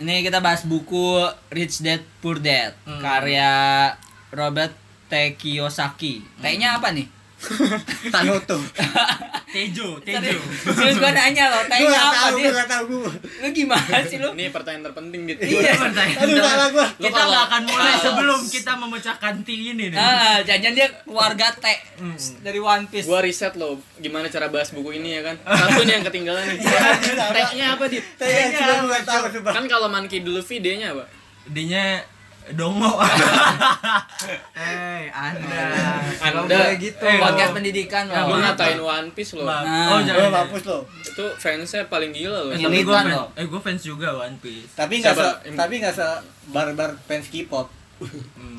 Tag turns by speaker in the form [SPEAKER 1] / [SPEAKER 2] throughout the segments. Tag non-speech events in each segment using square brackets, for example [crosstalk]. [SPEAKER 1] Ini kita bahas buku Rich Dad Poor Dad
[SPEAKER 2] Hmm.
[SPEAKER 1] karya Robert T. Kiyosaki.
[SPEAKER 2] Hmm.
[SPEAKER 1] T-nya apa nih?
[SPEAKER 3] Tanoto.
[SPEAKER 4] Tejo, Tejo.
[SPEAKER 1] Serius serius gua nanya
[SPEAKER 2] [laughs]
[SPEAKER 1] lo,
[SPEAKER 3] Gue
[SPEAKER 1] T-nya
[SPEAKER 3] gak
[SPEAKER 1] apa
[SPEAKER 3] tau,
[SPEAKER 1] sih?
[SPEAKER 3] gue gak tau gue.
[SPEAKER 1] Lu gimana sih lu?
[SPEAKER 5] Ini pertanyaan terpenting gitu.
[SPEAKER 1] Iya.
[SPEAKER 3] Aduh salah gue.
[SPEAKER 5] Lu
[SPEAKER 4] Kita
[SPEAKER 5] kalau-
[SPEAKER 4] nggak akan mulai sebelum kita memecahkan T ini nih.
[SPEAKER 1] Ah, jangan dia keluarga T
[SPEAKER 2] Hmm.
[SPEAKER 1] dari One Piece.
[SPEAKER 5] Gua riset loh gimana cara bahas buku ini ya kan. Satu nih yang ketinggalan nih.
[SPEAKER 1] Iya.
[SPEAKER 5] Tag-nya apa, Dit?
[SPEAKER 3] Tanya coba gue gak tau. Coba.
[SPEAKER 5] Kan kalau Monkey dulu V-nya apa?
[SPEAKER 4] Dinya dongo. [laughs] eh, Anda.
[SPEAKER 5] Anda.
[SPEAKER 4] Nggak boleh gitu. Eh,
[SPEAKER 1] Podcast
[SPEAKER 4] lo.
[SPEAKER 1] pendidikan
[SPEAKER 4] Ya,
[SPEAKER 5] Gua
[SPEAKER 1] lo.
[SPEAKER 4] boleh.
[SPEAKER 5] ngatain One Piece loh.
[SPEAKER 4] Bang.
[SPEAKER 1] Nah.
[SPEAKER 4] Oh,
[SPEAKER 3] Gue
[SPEAKER 4] jangan.
[SPEAKER 3] hapus lo.
[SPEAKER 5] Itu fansnya paling gila loh.
[SPEAKER 4] Eh,
[SPEAKER 5] Tapi
[SPEAKER 4] tapi gue
[SPEAKER 1] Militan
[SPEAKER 4] fans,
[SPEAKER 1] lo.
[SPEAKER 4] eh, gua fans juga One Piece.
[SPEAKER 3] Tapi gak se,
[SPEAKER 5] Siapa?
[SPEAKER 3] tapi gak se barbar fans K-pop.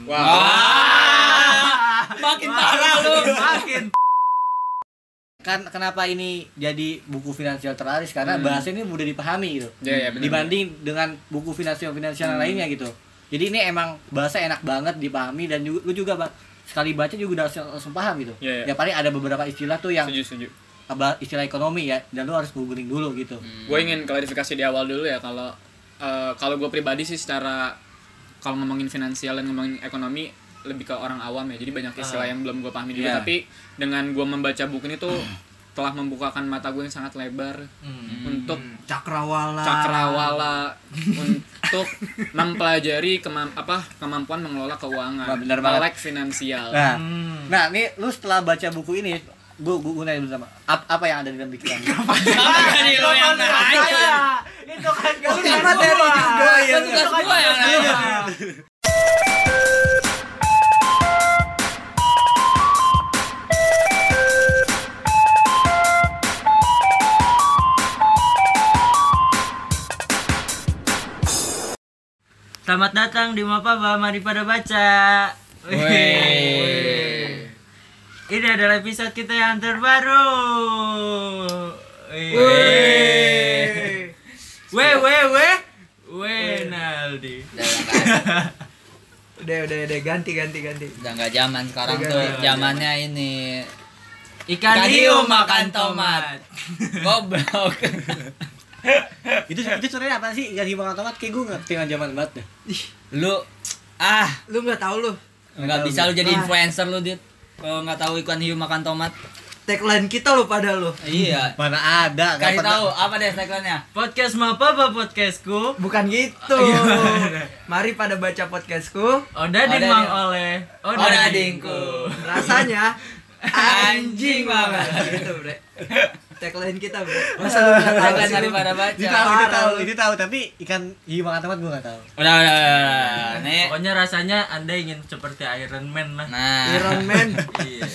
[SPEAKER 5] Wah.
[SPEAKER 1] Ah. Makin parah lu.
[SPEAKER 4] Makin.
[SPEAKER 3] Kan kenapa ini jadi buku finansial teraris karena bahasa ini mudah dipahami gitu.
[SPEAKER 5] Ya, ya, Hmm. benar. Hmm.
[SPEAKER 3] Dibanding dengan buku finansial-finansial lainnya gitu. Jadi ini emang bahasa enak banget dipahami dan juga, lu juga Bang, sekali baca juga udah langsung, langsung paham gitu.
[SPEAKER 5] Ya,
[SPEAKER 3] Ya
[SPEAKER 5] ya.
[SPEAKER 3] paling ada beberapa istilah tuh yang
[SPEAKER 5] Setuju, setuju.
[SPEAKER 3] apa istilah ekonomi ya dan lu harus googling dulu gitu.
[SPEAKER 5] gue ingin klarifikasi di awal dulu ya kalau eh, kalau gue pribadi sih secara kalau ngomongin finansial dan ngomongin ekonomi lebih ke orang awam ya jadi banyak istilah yang belum gue pahami
[SPEAKER 1] Ah.
[SPEAKER 5] juga
[SPEAKER 1] Iya.
[SPEAKER 5] tapi dengan gue membaca buku ini tuh telah membukakan mata gue yang sangat lebar
[SPEAKER 1] Hmm.
[SPEAKER 5] untuk
[SPEAKER 3] Ah.
[SPEAKER 4] Cakrawala.
[SPEAKER 5] cakrawala untuk mempelajari kemam- apa kemampuan mengelola keuangan
[SPEAKER 3] Wah, bener banget.
[SPEAKER 5] melek finansial
[SPEAKER 3] Nah, nah nih lu setelah baca buku ini, gua gua, gua nanya dulu sama ap- apa yang ada di dalam pikiran? lu?
[SPEAKER 1] Jadi lo yang nanya.
[SPEAKER 4] Itu kan gak
[SPEAKER 3] Itu kan materi juga,
[SPEAKER 1] Itu
[SPEAKER 3] ya.
[SPEAKER 2] Iya,
[SPEAKER 1] tugas gua yang nanya.
[SPEAKER 4] Selamat datang di Mapaba, mari pada baca.
[SPEAKER 1] Wey.
[SPEAKER 4] Ini adalah episode kita yang terbaru. Wey. Wey, wey, wey. Wey, Naldi.
[SPEAKER 1] Udah nggak-
[SPEAKER 2] [laughs] udah udah udah ganti ganti ganti
[SPEAKER 1] Udah nggak zaman sekarang
[SPEAKER 2] Udah
[SPEAKER 1] tuh,
[SPEAKER 2] nggak zaman.
[SPEAKER 1] zamannya ini
[SPEAKER 2] [laughs]
[SPEAKER 4] Ikan hiu makan tomat.
[SPEAKER 1] goblok.
[SPEAKER 3] itu itu sebenarnya apa sih? Ikan hiu makan tomat kayak gua ngerti dengan zaman banget dah.
[SPEAKER 1] Lu ah,
[SPEAKER 2] lu nggak tahu lu
[SPEAKER 1] nggak
[SPEAKER 3] tahu
[SPEAKER 1] bisa lu jadi
[SPEAKER 2] Ah.
[SPEAKER 1] influencer lu, Dit. Kalau nggak tahu ikan hiu makan tomat.
[SPEAKER 2] tagline kita lu pada lu
[SPEAKER 1] Iya.
[SPEAKER 3] Mana ada? nggak
[SPEAKER 1] [laughs] Kasih
[SPEAKER 3] pernah.
[SPEAKER 1] tahu apa deh tagline-nya?
[SPEAKER 4] Podcast Mapaba podcastku.
[SPEAKER 2] bukan gitu mari pada baca podcastku
[SPEAKER 4] Oda
[SPEAKER 1] Odading.
[SPEAKER 4] dimang oleh
[SPEAKER 1] Odadingku.
[SPEAKER 2] rasanya anjing banget [laughs] gitu bre tagline kita bre masa lu nggak tahu
[SPEAKER 1] Tagline
[SPEAKER 2] sih,
[SPEAKER 1] dari
[SPEAKER 2] lu?
[SPEAKER 1] pada
[SPEAKER 3] Itu
[SPEAKER 1] baca.
[SPEAKER 3] tahu, itu
[SPEAKER 2] Parah
[SPEAKER 3] tahu,
[SPEAKER 2] lu.
[SPEAKER 3] itu tahu, tapi ikan hiu makan tomat gua nggak tahu.
[SPEAKER 1] Udah, udah, udah, udah. Nih.
[SPEAKER 4] Pokoknya rasanya Anda ingin seperti Iron Man lah.
[SPEAKER 1] Nah.
[SPEAKER 2] Iron Man
[SPEAKER 4] Iya.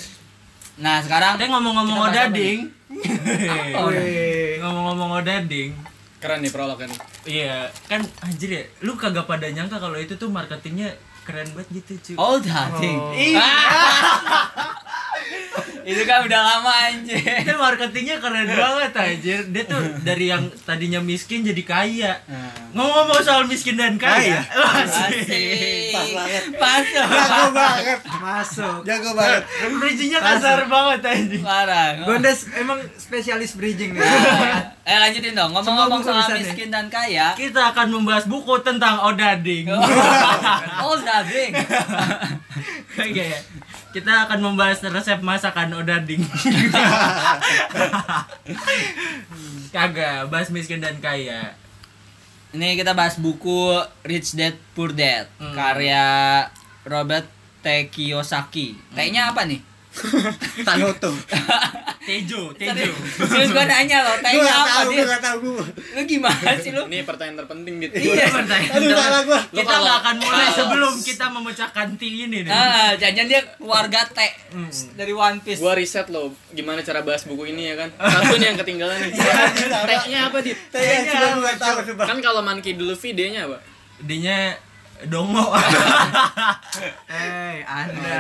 [SPEAKER 1] Nah, sekarang
[SPEAKER 4] Tapi
[SPEAKER 1] Kita
[SPEAKER 4] ngomong-ngomong
[SPEAKER 1] bahas apa
[SPEAKER 4] Odading,
[SPEAKER 1] Oh, udah.
[SPEAKER 2] Weh.
[SPEAKER 4] ngomong-ngomong Odading,
[SPEAKER 5] keren nih prolog kan
[SPEAKER 4] iya kan anjir ya, lu kagak pada nyangka kalau itu tuh marketingnya keren banget gitu
[SPEAKER 3] [laughs]
[SPEAKER 4] cuy.
[SPEAKER 1] Old Hunting.
[SPEAKER 2] Ih,
[SPEAKER 1] [laughs] Itu kan udah lama anjir.
[SPEAKER 3] Eh.
[SPEAKER 4] Itu marketingnya keren banget anjir. Dia
[SPEAKER 3] [laughs]
[SPEAKER 4] tuh dari yang tadinya miskin jadi kaya.
[SPEAKER 3] Eh.
[SPEAKER 4] Ngomong-ngomong soal miskin dan kaya, [laughs]
[SPEAKER 1] Asik.
[SPEAKER 3] Pas banget.
[SPEAKER 1] Pas
[SPEAKER 3] Jago banget,
[SPEAKER 2] masuk
[SPEAKER 3] jago [laughs] banget.
[SPEAKER 4] bridging-nya kasar banget anjir.
[SPEAKER 1] Parah.
[SPEAKER 2] Gondes emang spesialis bridging nih
[SPEAKER 1] Nah, eh lanjutin dong. Ngomong-ngomong
[SPEAKER 2] Semua
[SPEAKER 1] soal
[SPEAKER 2] bisa nih.
[SPEAKER 1] miskin dan kaya.
[SPEAKER 4] Kita akan membahas buku tentang Odading.
[SPEAKER 1] [laughs]
[SPEAKER 3] Oh.
[SPEAKER 1] Old Hunting.
[SPEAKER 4] [laughs] Oke. ya. Kita akan membahas resep masakan
[SPEAKER 3] [laughs]
[SPEAKER 4] odading. Kagak, bahas miskin dan kaya.
[SPEAKER 1] Ini kita bahas buku Rich Dad Poor Dad karya Robert T. Kiyosaki. T-nya apa nih?
[SPEAKER 3] Tanoto.
[SPEAKER 4] Tejo,
[SPEAKER 1] Serius, serius gua nanya loh,
[SPEAKER 3] Gua
[SPEAKER 1] T-nya
[SPEAKER 3] nggak
[SPEAKER 1] apa
[SPEAKER 3] tahu,
[SPEAKER 1] sih?
[SPEAKER 3] gua nggak tahu gua.
[SPEAKER 1] Lu gimana sih lu?
[SPEAKER 5] ini pertanyaan terpenting gitu
[SPEAKER 1] Iya.
[SPEAKER 3] Aduh salah gua.
[SPEAKER 5] Lu
[SPEAKER 4] Kita
[SPEAKER 5] kalau- Ah.
[SPEAKER 4] nggak akan mulai
[SPEAKER 5] kalau-
[SPEAKER 4] sebelum kita memecahkan T ini nih.
[SPEAKER 1] Ah, jangan dia keluarga T dari One Piece.
[SPEAKER 5] Gua riset loh gimana cara bahas buku ini ya kan. Satu nih yang ketinggalan nih. Tag-nya apa, Dit?
[SPEAKER 3] Tanya coba gua nggak tahu, coba.
[SPEAKER 5] Kan kalau Monkey dulu V-nya apa?
[SPEAKER 4] Dinya dongo.
[SPEAKER 5] Ah.
[SPEAKER 2] eh anda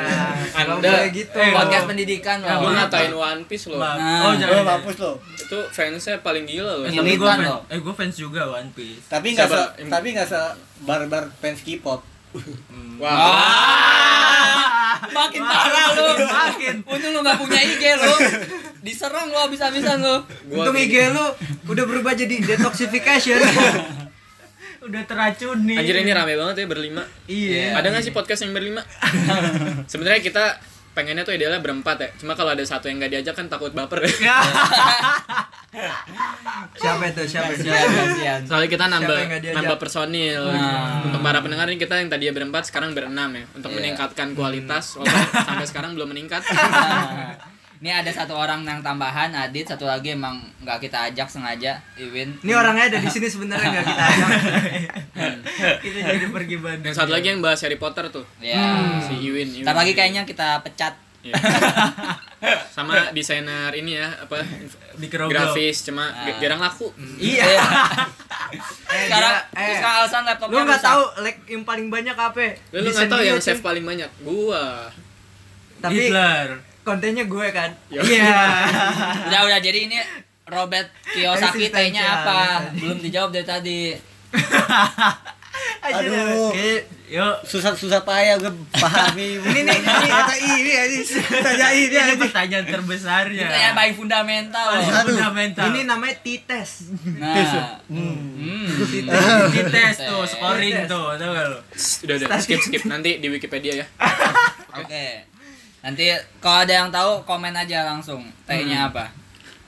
[SPEAKER 5] Anda.
[SPEAKER 2] Nggak boleh gitu
[SPEAKER 4] Eh,
[SPEAKER 1] Podcast pendidikan
[SPEAKER 4] Ya,
[SPEAKER 5] Gua
[SPEAKER 1] loh.
[SPEAKER 4] bener.
[SPEAKER 5] ngatain One Piece loh.
[SPEAKER 4] Bang. [laughs] Oh,
[SPEAKER 3] Gua
[SPEAKER 5] Ah.
[SPEAKER 4] jangan.
[SPEAKER 3] hapus lo.
[SPEAKER 5] Itu fansnya paling gila loh.
[SPEAKER 4] Eh,
[SPEAKER 1] Ini
[SPEAKER 4] tapi gua
[SPEAKER 1] kan
[SPEAKER 4] fan-
[SPEAKER 1] lo.
[SPEAKER 4] eh gua fans juga One Piece.
[SPEAKER 3] Tapi nggak se,
[SPEAKER 5] Siapa?
[SPEAKER 3] tapi nggak se barbar fans K-pop.
[SPEAKER 5] Wah. Ah.
[SPEAKER 1] Makin parah lu.
[SPEAKER 4] Ah, Makin.
[SPEAKER 1] Untung lu gak punya IG lu. Diserang lu habis-habisan lu.
[SPEAKER 5] Gua
[SPEAKER 2] Untung IG lu udah berubah jadi detoxification.
[SPEAKER 4] udah teracuni.
[SPEAKER 5] Anjir ini rame banget ya berlima.
[SPEAKER 4] Iya.
[SPEAKER 5] Ada nggak sih podcast
[SPEAKER 1] [laughs]
[SPEAKER 5] yang berlima? Sebenarnya kita pengennya tuh idealnya berempat ya. Cuma kalau ada satu yang nggak diajak kan takut baper.
[SPEAKER 1] Iya.
[SPEAKER 2] Siapa itu? Siapa?
[SPEAKER 1] Kasihan, kasihan.
[SPEAKER 5] Soalnya kita nambah
[SPEAKER 2] yang nggak diajak?
[SPEAKER 5] nambah personil.
[SPEAKER 1] Nah.
[SPEAKER 5] Untuk para pendengar ini kita yang tadinya berempat sekarang berenam ya. Untuk
[SPEAKER 1] Iya.
[SPEAKER 5] meningkatkan kualitas walaupun
[SPEAKER 1] [laughs]
[SPEAKER 5] sampai sekarang belum meningkat.
[SPEAKER 1] Nah, Ini ada satu orang yang tambahan, Adit, satu lagi emang nggak kita ajak sengaja, Iwin.
[SPEAKER 2] Ini orangnya ada di sini sebenarnya nggak kita ajak.
[SPEAKER 4] [laughs] Kita jadi pergi Bandung.
[SPEAKER 5] Yang satu lagi yang bahas Harry Potter tuh.
[SPEAKER 1] Ya.
[SPEAKER 2] Hmm.
[SPEAKER 5] Si Iwin. Iwin.
[SPEAKER 1] Iya. Ntar lagi kayaknya kita pecat. [laughs]
[SPEAKER 5] Iya. Sama desainer ini ya apa
[SPEAKER 4] di Kerogol.
[SPEAKER 5] grafis cuma
[SPEAKER 1] Ah.
[SPEAKER 5] jarang laku.
[SPEAKER 1] [laughs] Iya.
[SPEAKER 2] Eh,
[SPEAKER 1] sekarang,
[SPEAKER 2] dia- eh,
[SPEAKER 1] sekarang alasan laptopnya
[SPEAKER 2] lu nggak
[SPEAKER 1] rusak.
[SPEAKER 2] tahu lag yang paling banyak apa?
[SPEAKER 5] Lu, lu
[SPEAKER 2] Desain
[SPEAKER 5] nggak tahu
[SPEAKER 2] dia,
[SPEAKER 5] yang
[SPEAKER 2] cuy.
[SPEAKER 5] save paling banyak? Gua.
[SPEAKER 2] Tapi
[SPEAKER 4] Hitler.
[SPEAKER 2] kontennya gue kan.
[SPEAKER 4] Iya.
[SPEAKER 5] Yo.
[SPEAKER 1] Iya. Udah, udah. Jadi ini Robert Kiyosaki
[SPEAKER 2] Eksistensial,
[SPEAKER 1] T-nya apa?
[SPEAKER 2] eksistensial.
[SPEAKER 1] Belum dijawab dari tadi.
[SPEAKER 3] Aduh.
[SPEAKER 2] Kayak-
[SPEAKER 4] Yuk.
[SPEAKER 3] Susah susah payah gue [laughs] pahami.
[SPEAKER 2] Ini nih, ini kata I, ini ini tanya I
[SPEAKER 4] Ini
[SPEAKER 2] dia anjing.
[SPEAKER 4] pertanyaan terbesarnya.
[SPEAKER 1] Kita ya by fundamental.
[SPEAKER 4] Paling
[SPEAKER 1] loh.
[SPEAKER 4] fundamental.
[SPEAKER 2] Ini namanya T-test.
[SPEAKER 1] Nah. Hmm.
[SPEAKER 4] dites tuh, scoring tuh, tau gak lu?
[SPEAKER 5] Udah udah skip skip nanti di Wikipedia ya.
[SPEAKER 1] Oke. Nanti kalau ada yang tahu komen aja langsung.
[SPEAKER 2] Hmm.
[SPEAKER 1] T-nya apa?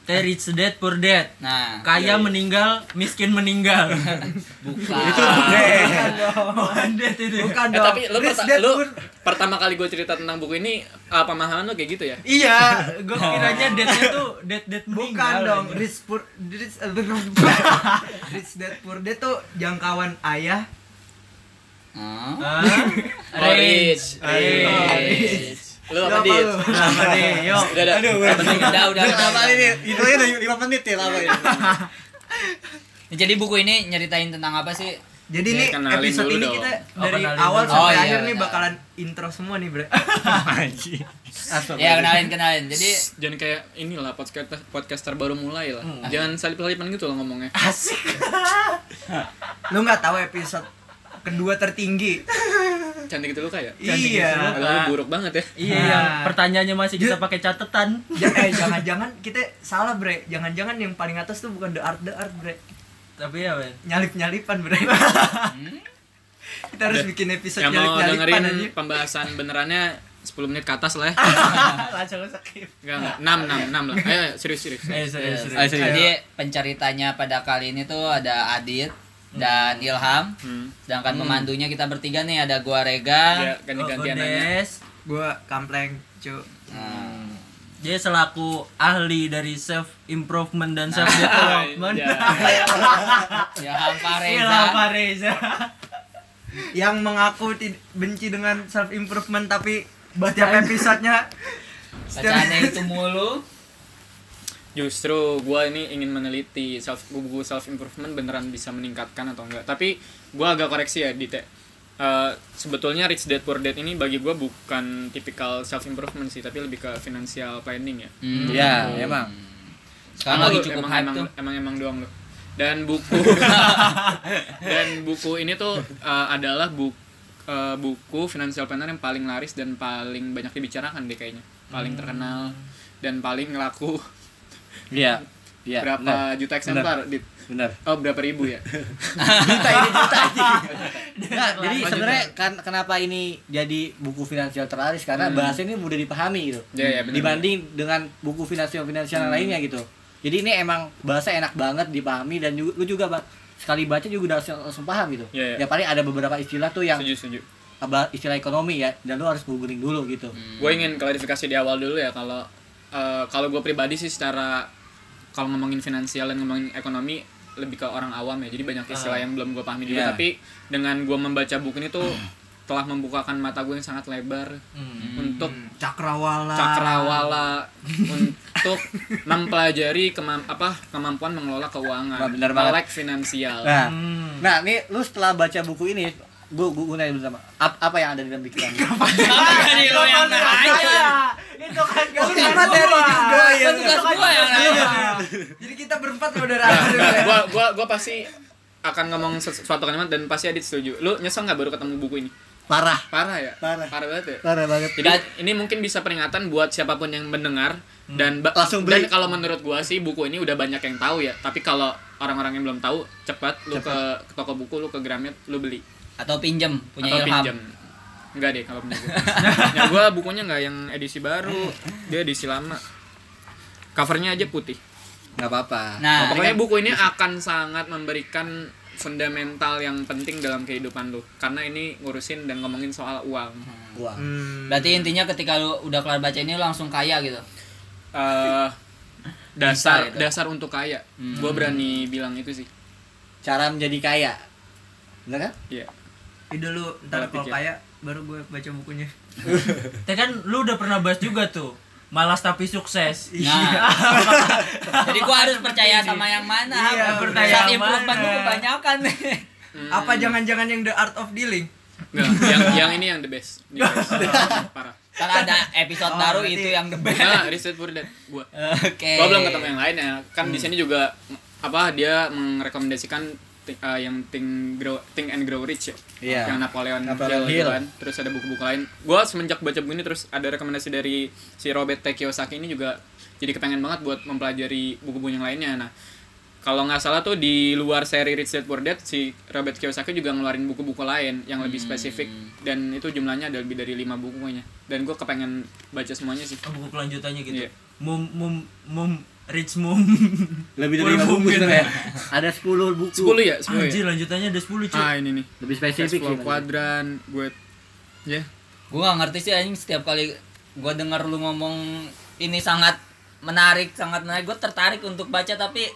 [SPEAKER 4] Teh rich dead poor dead.
[SPEAKER 1] Nah.
[SPEAKER 4] Kaya meninggal, miskin meninggal.
[SPEAKER 1] Itu
[SPEAKER 5] Iya,
[SPEAKER 4] Bukan dead itu.
[SPEAKER 2] Bukan
[SPEAKER 5] Eh,
[SPEAKER 2] dong.
[SPEAKER 5] tapi lu,
[SPEAKER 2] Rich
[SPEAKER 5] perta-
[SPEAKER 2] Dad
[SPEAKER 5] lu
[SPEAKER 2] Poor-
[SPEAKER 5] pertama kali gue cerita tentang buku ini ah, pemahaman lu kayak gitu ya?
[SPEAKER 4] Iya, gue kiranya deadnya tuh dead dead
[SPEAKER 2] Bukan
[SPEAKER 4] meninggal.
[SPEAKER 2] dong, Rich Poor Rich eh, [laughs] Rich Dad Poor Dad tuh jangkauan ayah.
[SPEAKER 1] Nah.
[SPEAKER 4] Ah, iya.
[SPEAKER 5] Oh, rich.
[SPEAKER 1] Iya,
[SPEAKER 4] Rich.
[SPEAKER 5] Lu apa dit?
[SPEAKER 2] lu?
[SPEAKER 4] Kenapa nih? Yuk.
[SPEAKER 5] Udah udah.
[SPEAKER 1] udah udah.
[SPEAKER 3] Lama
[SPEAKER 1] udah.
[SPEAKER 3] ini, itu aja udah lima menit ya lama ini.
[SPEAKER 1] Jadi buku ini nyeritain tentang apa sih?
[SPEAKER 2] Jadi
[SPEAKER 5] Ya,
[SPEAKER 2] nih
[SPEAKER 5] kenalin
[SPEAKER 2] episode
[SPEAKER 5] dulu
[SPEAKER 2] ini
[SPEAKER 5] dong.
[SPEAKER 2] kita
[SPEAKER 4] Oh,
[SPEAKER 2] dari
[SPEAKER 4] kenalin
[SPEAKER 2] awal
[SPEAKER 4] dulu.
[SPEAKER 2] sampai
[SPEAKER 1] Oh, iya,
[SPEAKER 2] akhir nih
[SPEAKER 1] benar.
[SPEAKER 2] bakalan intro semua nih, Bre.
[SPEAKER 1] Ya kenalin kenalin. Jadi
[SPEAKER 5] Jangan kayak inilah podcast podcaster baru mulai lah.
[SPEAKER 2] Hmm.
[SPEAKER 5] Jangan salip-salipan gitu loh
[SPEAKER 2] [laughs]
[SPEAKER 5] ngomongnya.
[SPEAKER 2] Lu nggak tahu episode kedua tertinggi.
[SPEAKER 5] Cantik itu lu kayak.
[SPEAKER 4] Cantik
[SPEAKER 2] iya.
[SPEAKER 4] Luka.
[SPEAKER 5] Agak buruk banget ya.
[SPEAKER 4] Iya, yang pertanyaannya masih kita pakai catatan.
[SPEAKER 2] Ja- eh jangan-jangan kita salah, Bre. Jangan-jangan yang paling atas tuh bukan the art the art, Bre.
[SPEAKER 4] [laughs] Tapi ya, men.
[SPEAKER 2] Nyalip-nyalipan, Bre. kita harus bikin episode
[SPEAKER 5] Yang Hmm? Ya, mau
[SPEAKER 2] nyalip-nyalipan aja. Ah.
[SPEAKER 5] dengerin pembahasan benerannya 10 menit ke atas lah ya.
[SPEAKER 4] Ah, Langsung skip.
[SPEAKER 5] Enggak, 6 6 6 lah. Ayo, ayo, serius serius.
[SPEAKER 4] Eh, serius,
[SPEAKER 1] Yes.
[SPEAKER 4] serius.
[SPEAKER 1] Jadi penceritanya pada kali ini tuh ada Adit dan Ilham.
[SPEAKER 5] Hmm.
[SPEAKER 1] Sedangkan pemandunya kita bertiga nih ada gua Rega.
[SPEAKER 4] Oh,
[SPEAKER 5] Ya, ganti-gantian
[SPEAKER 2] Oh,
[SPEAKER 5] aja.
[SPEAKER 4] Godes.
[SPEAKER 2] Gua kampleng, cu.
[SPEAKER 1] Hmm.
[SPEAKER 4] Dia selaku ahli dari self improvement dan self
[SPEAKER 2] Ah,
[SPEAKER 4] development.
[SPEAKER 5] Ya.
[SPEAKER 1] Ilham [laughs] Pareza.
[SPEAKER 4] Iya, Pak Reza.
[SPEAKER 2] Yang mengaku tid- benci dengan self improvement tapi setiap episodenya
[SPEAKER 1] Bacaannya itu mulu.
[SPEAKER 5] Justru gue ini ingin meneliti self buku self improvement beneran bisa meningkatkan atau enggak. Tapi gue agak koreksi ya Dite. Eh, sebetulnya Rich Dad Poor Dad ini bagi gue bukan tipikal self improvement sih, tapi lebih ke financial planning ya.
[SPEAKER 1] Iya,
[SPEAKER 3] emang.
[SPEAKER 1] Sekarang
[SPEAKER 5] Emang
[SPEAKER 1] lagi
[SPEAKER 5] lu-
[SPEAKER 1] cukup
[SPEAKER 5] emang,
[SPEAKER 1] hype
[SPEAKER 5] emang,
[SPEAKER 1] tuh.
[SPEAKER 5] emang emang doang lu. Dan
[SPEAKER 1] [laughs]
[SPEAKER 5] buku dan buku ini tuh eh, adalah buku buku financial planner yang paling laris dan paling banyak dibicarakan deh kayaknya. Paling
[SPEAKER 1] Hmm.
[SPEAKER 5] terkenal dan paling laku
[SPEAKER 3] Iya.
[SPEAKER 1] Ya,
[SPEAKER 3] Iya.
[SPEAKER 5] berapa juta eksemplar di
[SPEAKER 3] Benar.
[SPEAKER 5] Oh berapa ribu
[SPEAKER 3] [laughs]
[SPEAKER 5] ya?
[SPEAKER 3] Juta ini [laughs] juta. Nah, jadi sebenarnya kan kenapa ini jadi buku finansial terlaris karena bahasa ini mudah dipahami gitu.
[SPEAKER 5] Iya, iya, benar.
[SPEAKER 3] Dibanding dengan buku finansial finansial lainnya gitu. Jadi ini emang bahasa enak banget dipahami dan ju- lu juga bang sekali baca juga udah langsung, langsung paham gitu.
[SPEAKER 5] Iya, iya.
[SPEAKER 3] Ya paling ada beberapa istilah tuh yang Hmm.
[SPEAKER 5] Setuju setuju.
[SPEAKER 3] apa, istilah ekonomi ya dan lu harus googling dulu gitu.
[SPEAKER 5] Gue ingin klarifikasi di awal dulu ya kalau eh, kalau gue pribadi sih secara kalau ngomongin finansial dan ngomongin ekonomi lebih ke orang awam ya. Jadi banyak istilah yang belum gue pahami juga.
[SPEAKER 3] Ah. Iya.
[SPEAKER 5] Tapi dengan gue membaca buku ini tuh
[SPEAKER 3] [clears throat]
[SPEAKER 5] telah membukakan mata gue yang sangat lebar
[SPEAKER 3] Hmm.
[SPEAKER 5] untuk
[SPEAKER 2] cakrawala.
[SPEAKER 5] cakrawala
[SPEAKER 3] [laughs]
[SPEAKER 5] untuk mempelajari kemam- apa kemampuan mengelola keuangan,
[SPEAKER 3] Wah, benar banget.
[SPEAKER 5] melek finansial.
[SPEAKER 3] Nah, nah nih lu setelah baca buku ini, gua gua, gua nanya dulu sama ap- apa yang ada di dalam pikiran? lu?
[SPEAKER 1] Kenapa jadi lo yang nanya?
[SPEAKER 4] Itu kan gak
[SPEAKER 2] Itu kan materi juga ya.
[SPEAKER 1] Kan tugas gua yang nanya.
[SPEAKER 2] Jadi kita berempat udah
[SPEAKER 5] Nah,
[SPEAKER 2] rahasia.
[SPEAKER 5] nah, gua gua gua pasti akan ngomong sesu- suatu kalimat dan pasti Adit setuju. Lu nyesel nggak baru ketemu buku ini?
[SPEAKER 3] Parah.
[SPEAKER 5] Parah ya?
[SPEAKER 3] Parah.
[SPEAKER 5] banget ya?
[SPEAKER 3] Parah banget.
[SPEAKER 5] Jadi ini mungkin bisa peringatan buat siapapun yang mendengar dan ba-
[SPEAKER 3] Hmm. Langsung beli.
[SPEAKER 5] dan kalau menurut gua sih buku ini udah banyak yang tahu ya. Tapi kalau orang-orang yang belum tahu cepat lu ke, ke toko buku lu ke Gramet lu beli
[SPEAKER 1] atau pinjem punya
[SPEAKER 5] atau
[SPEAKER 1] Ilham.
[SPEAKER 5] pinjam. Enggak deh kalau punya gua. ya gua bukunya nggak yang
[SPEAKER 3] [laughs]
[SPEAKER 5] edisi baru, dia edisi lama. Covernya aja putih.
[SPEAKER 3] Nggak apa-apa.
[SPEAKER 1] Nah,
[SPEAKER 5] Pokoknya buku ini akan sangat memberikan fundamental yang penting dalam kehidupan lu karena ini ngurusin dan ngomongin soal uang.
[SPEAKER 3] Wah.
[SPEAKER 1] berarti intinya ketika lu udah kelar baca ini lu langsung kaya gitu.
[SPEAKER 5] eh
[SPEAKER 1] Bisa
[SPEAKER 5] dasar
[SPEAKER 1] itu.
[SPEAKER 5] dasar untuk kaya. Gua berani bilang itu sih.
[SPEAKER 3] Cara menjadi kaya. Bener kan?
[SPEAKER 5] Iya.
[SPEAKER 2] Ide lu ntar
[SPEAKER 5] Kalau
[SPEAKER 2] kalau
[SPEAKER 5] pikir.
[SPEAKER 2] kaya baru gue baca bukunya.
[SPEAKER 5] Hmm.
[SPEAKER 4] Tapi kan lu udah pernah bahas juga tuh. Malas tapi sukses.
[SPEAKER 1] Nah. [laughs] Jadi gua harus percaya sama yang mana?
[SPEAKER 2] Iya,
[SPEAKER 1] Ham?
[SPEAKER 4] percaya
[SPEAKER 1] Saat
[SPEAKER 4] yang
[SPEAKER 1] improvement
[SPEAKER 4] mana?
[SPEAKER 1] gua kebanyakan.
[SPEAKER 5] Hmm,
[SPEAKER 2] Apa jangan-jangan yang the art of dealing?
[SPEAKER 5] enggak, yang yang ini yang the best. The best. Parah.
[SPEAKER 1] Kan ada episode
[SPEAKER 2] Oh,
[SPEAKER 1] baru
[SPEAKER 2] berarti-
[SPEAKER 1] itu yang the best.
[SPEAKER 5] Nah, riset for that. Gua.
[SPEAKER 1] Oke.
[SPEAKER 5] Gua belum ketemu yang lain ya. Kan
[SPEAKER 3] Hmm.
[SPEAKER 5] di sini juga mm, apa dia merekomendasikan thi- eh, yang Think Grow Think and Grow Rich ya.
[SPEAKER 3] Iya.
[SPEAKER 5] Yang Napoleon,
[SPEAKER 3] Napoleon
[SPEAKER 5] Hill, gitu
[SPEAKER 3] Hill.
[SPEAKER 5] kan. Terus ada buku-buku lain. Gua semenjak baca buku ini terus ada rekomendasi dari si Robert T. Kiyosaki ini juga jadi kepengen banget buat mempelajari buku-buku yang lainnya. Nah, kalau nggak salah tuh di luar seri Rich Dad Poor Dad si Robert Kiyosaki juga ngeluarin buku-buku lain yang lebih
[SPEAKER 3] Hmm.
[SPEAKER 5] spesifik dan itu jumlahnya ada lebih dari lima bukunya dan gue kepengen baca semuanya sih
[SPEAKER 4] Oh, buku kelanjutannya gitu.
[SPEAKER 5] Iya.
[SPEAKER 4] Mum mum mum rich mum.
[SPEAKER 3] Lebih dari lima
[SPEAKER 4] Mungkin.
[SPEAKER 3] buku sebenarnya. Ada 10 buku.
[SPEAKER 5] sepuluh ya sepuluh
[SPEAKER 4] Anjir
[SPEAKER 5] ya
[SPEAKER 4] lanjutannya ada 10 cuy.
[SPEAKER 5] ah ini nih
[SPEAKER 3] Lebih
[SPEAKER 5] cash
[SPEAKER 3] spesifik
[SPEAKER 5] flow
[SPEAKER 3] sih, Mas.
[SPEAKER 5] kuadran gue ya
[SPEAKER 1] Gua gak ngerti sih anjing setiap kali gua denger lu ngomong ini sangat menarik, sangat menarik. Gua tertarik untuk baca tapi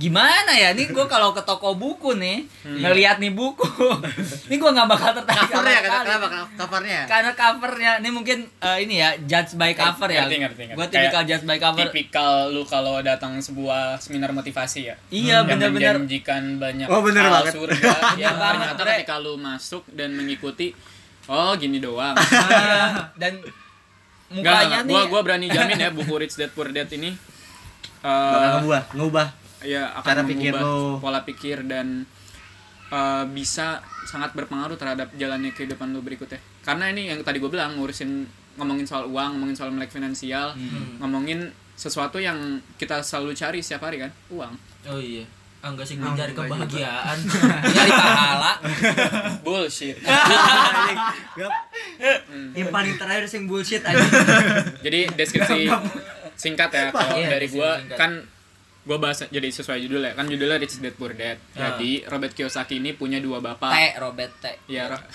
[SPEAKER 1] gimana ya nih gua kalau ke toko buku nih ngelihat nih buku [laughs] ini gua nggak bakal tertarik sama
[SPEAKER 3] Covernya ya, kata
[SPEAKER 1] sekali.
[SPEAKER 3] kenapa covernya?
[SPEAKER 1] karena covernya ini mungkin eh, ini ya judge by cover ya
[SPEAKER 5] Ngerti, ngerti, ngerti.
[SPEAKER 1] gue tipikal
[SPEAKER 5] Kayak
[SPEAKER 1] judge by cover
[SPEAKER 5] tipikal lu kalau datang sebuah seminar motivasi ya
[SPEAKER 1] iya
[SPEAKER 5] yang
[SPEAKER 1] bener-bener
[SPEAKER 5] menjanjikan banyak
[SPEAKER 3] Oh, bener
[SPEAKER 5] hal
[SPEAKER 3] banget.
[SPEAKER 5] surga yang
[SPEAKER 1] banget,
[SPEAKER 5] ternyata
[SPEAKER 1] Bre.
[SPEAKER 5] ketika lu masuk dan mengikuti oh gini doang
[SPEAKER 1] dan mukanya
[SPEAKER 5] Enggak,
[SPEAKER 1] nih
[SPEAKER 5] gua gua berani jamin ya buku Rich Dad Poor Dad ini
[SPEAKER 3] Bakal
[SPEAKER 5] eh
[SPEAKER 3] ngubah, ngubah.
[SPEAKER 5] ya akan
[SPEAKER 3] Cara
[SPEAKER 5] mengubah
[SPEAKER 3] pikir lo.
[SPEAKER 5] pola pikir dan eh, bisa sangat berpengaruh terhadap jalannya kehidupan lo berikutnya. Karena ini yang tadi gue bilang ngurusin ngomongin soal uang, ngomongin soal melek finansial, ngomongin sesuatu yang kita selalu cari setiap hari kan, uang.
[SPEAKER 4] Oh iya. Ah, enggak sih gue
[SPEAKER 2] Ah,
[SPEAKER 4] cari
[SPEAKER 2] gua juga.
[SPEAKER 4] [laughs] kebahagiaan.
[SPEAKER 1] [laughs] nyari pahala
[SPEAKER 5] Bullshit.
[SPEAKER 2] Yang paling terakhir sing bullshit
[SPEAKER 5] Hmm.
[SPEAKER 2] aja.
[SPEAKER 5] [laughs] Jadi deskripsi singkat ya kalau
[SPEAKER 4] Iya,
[SPEAKER 5] dari gua
[SPEAKER 4] deskripsi singkat.
[SPEAKER 5] kan gua bahas jadi sesuai judul ya. Kan judulnya Rich Dad Poor
[SPEAKER 4] Ya.
[SPEAKER 5] Dad. Jadi Robert Kiyosaki ini punya dua
[SPEAKER 1] T
[SPEAKER 5] bapak.
[SPEAKER 1] Robert T
[SPEAKER 5] Iya, Ro-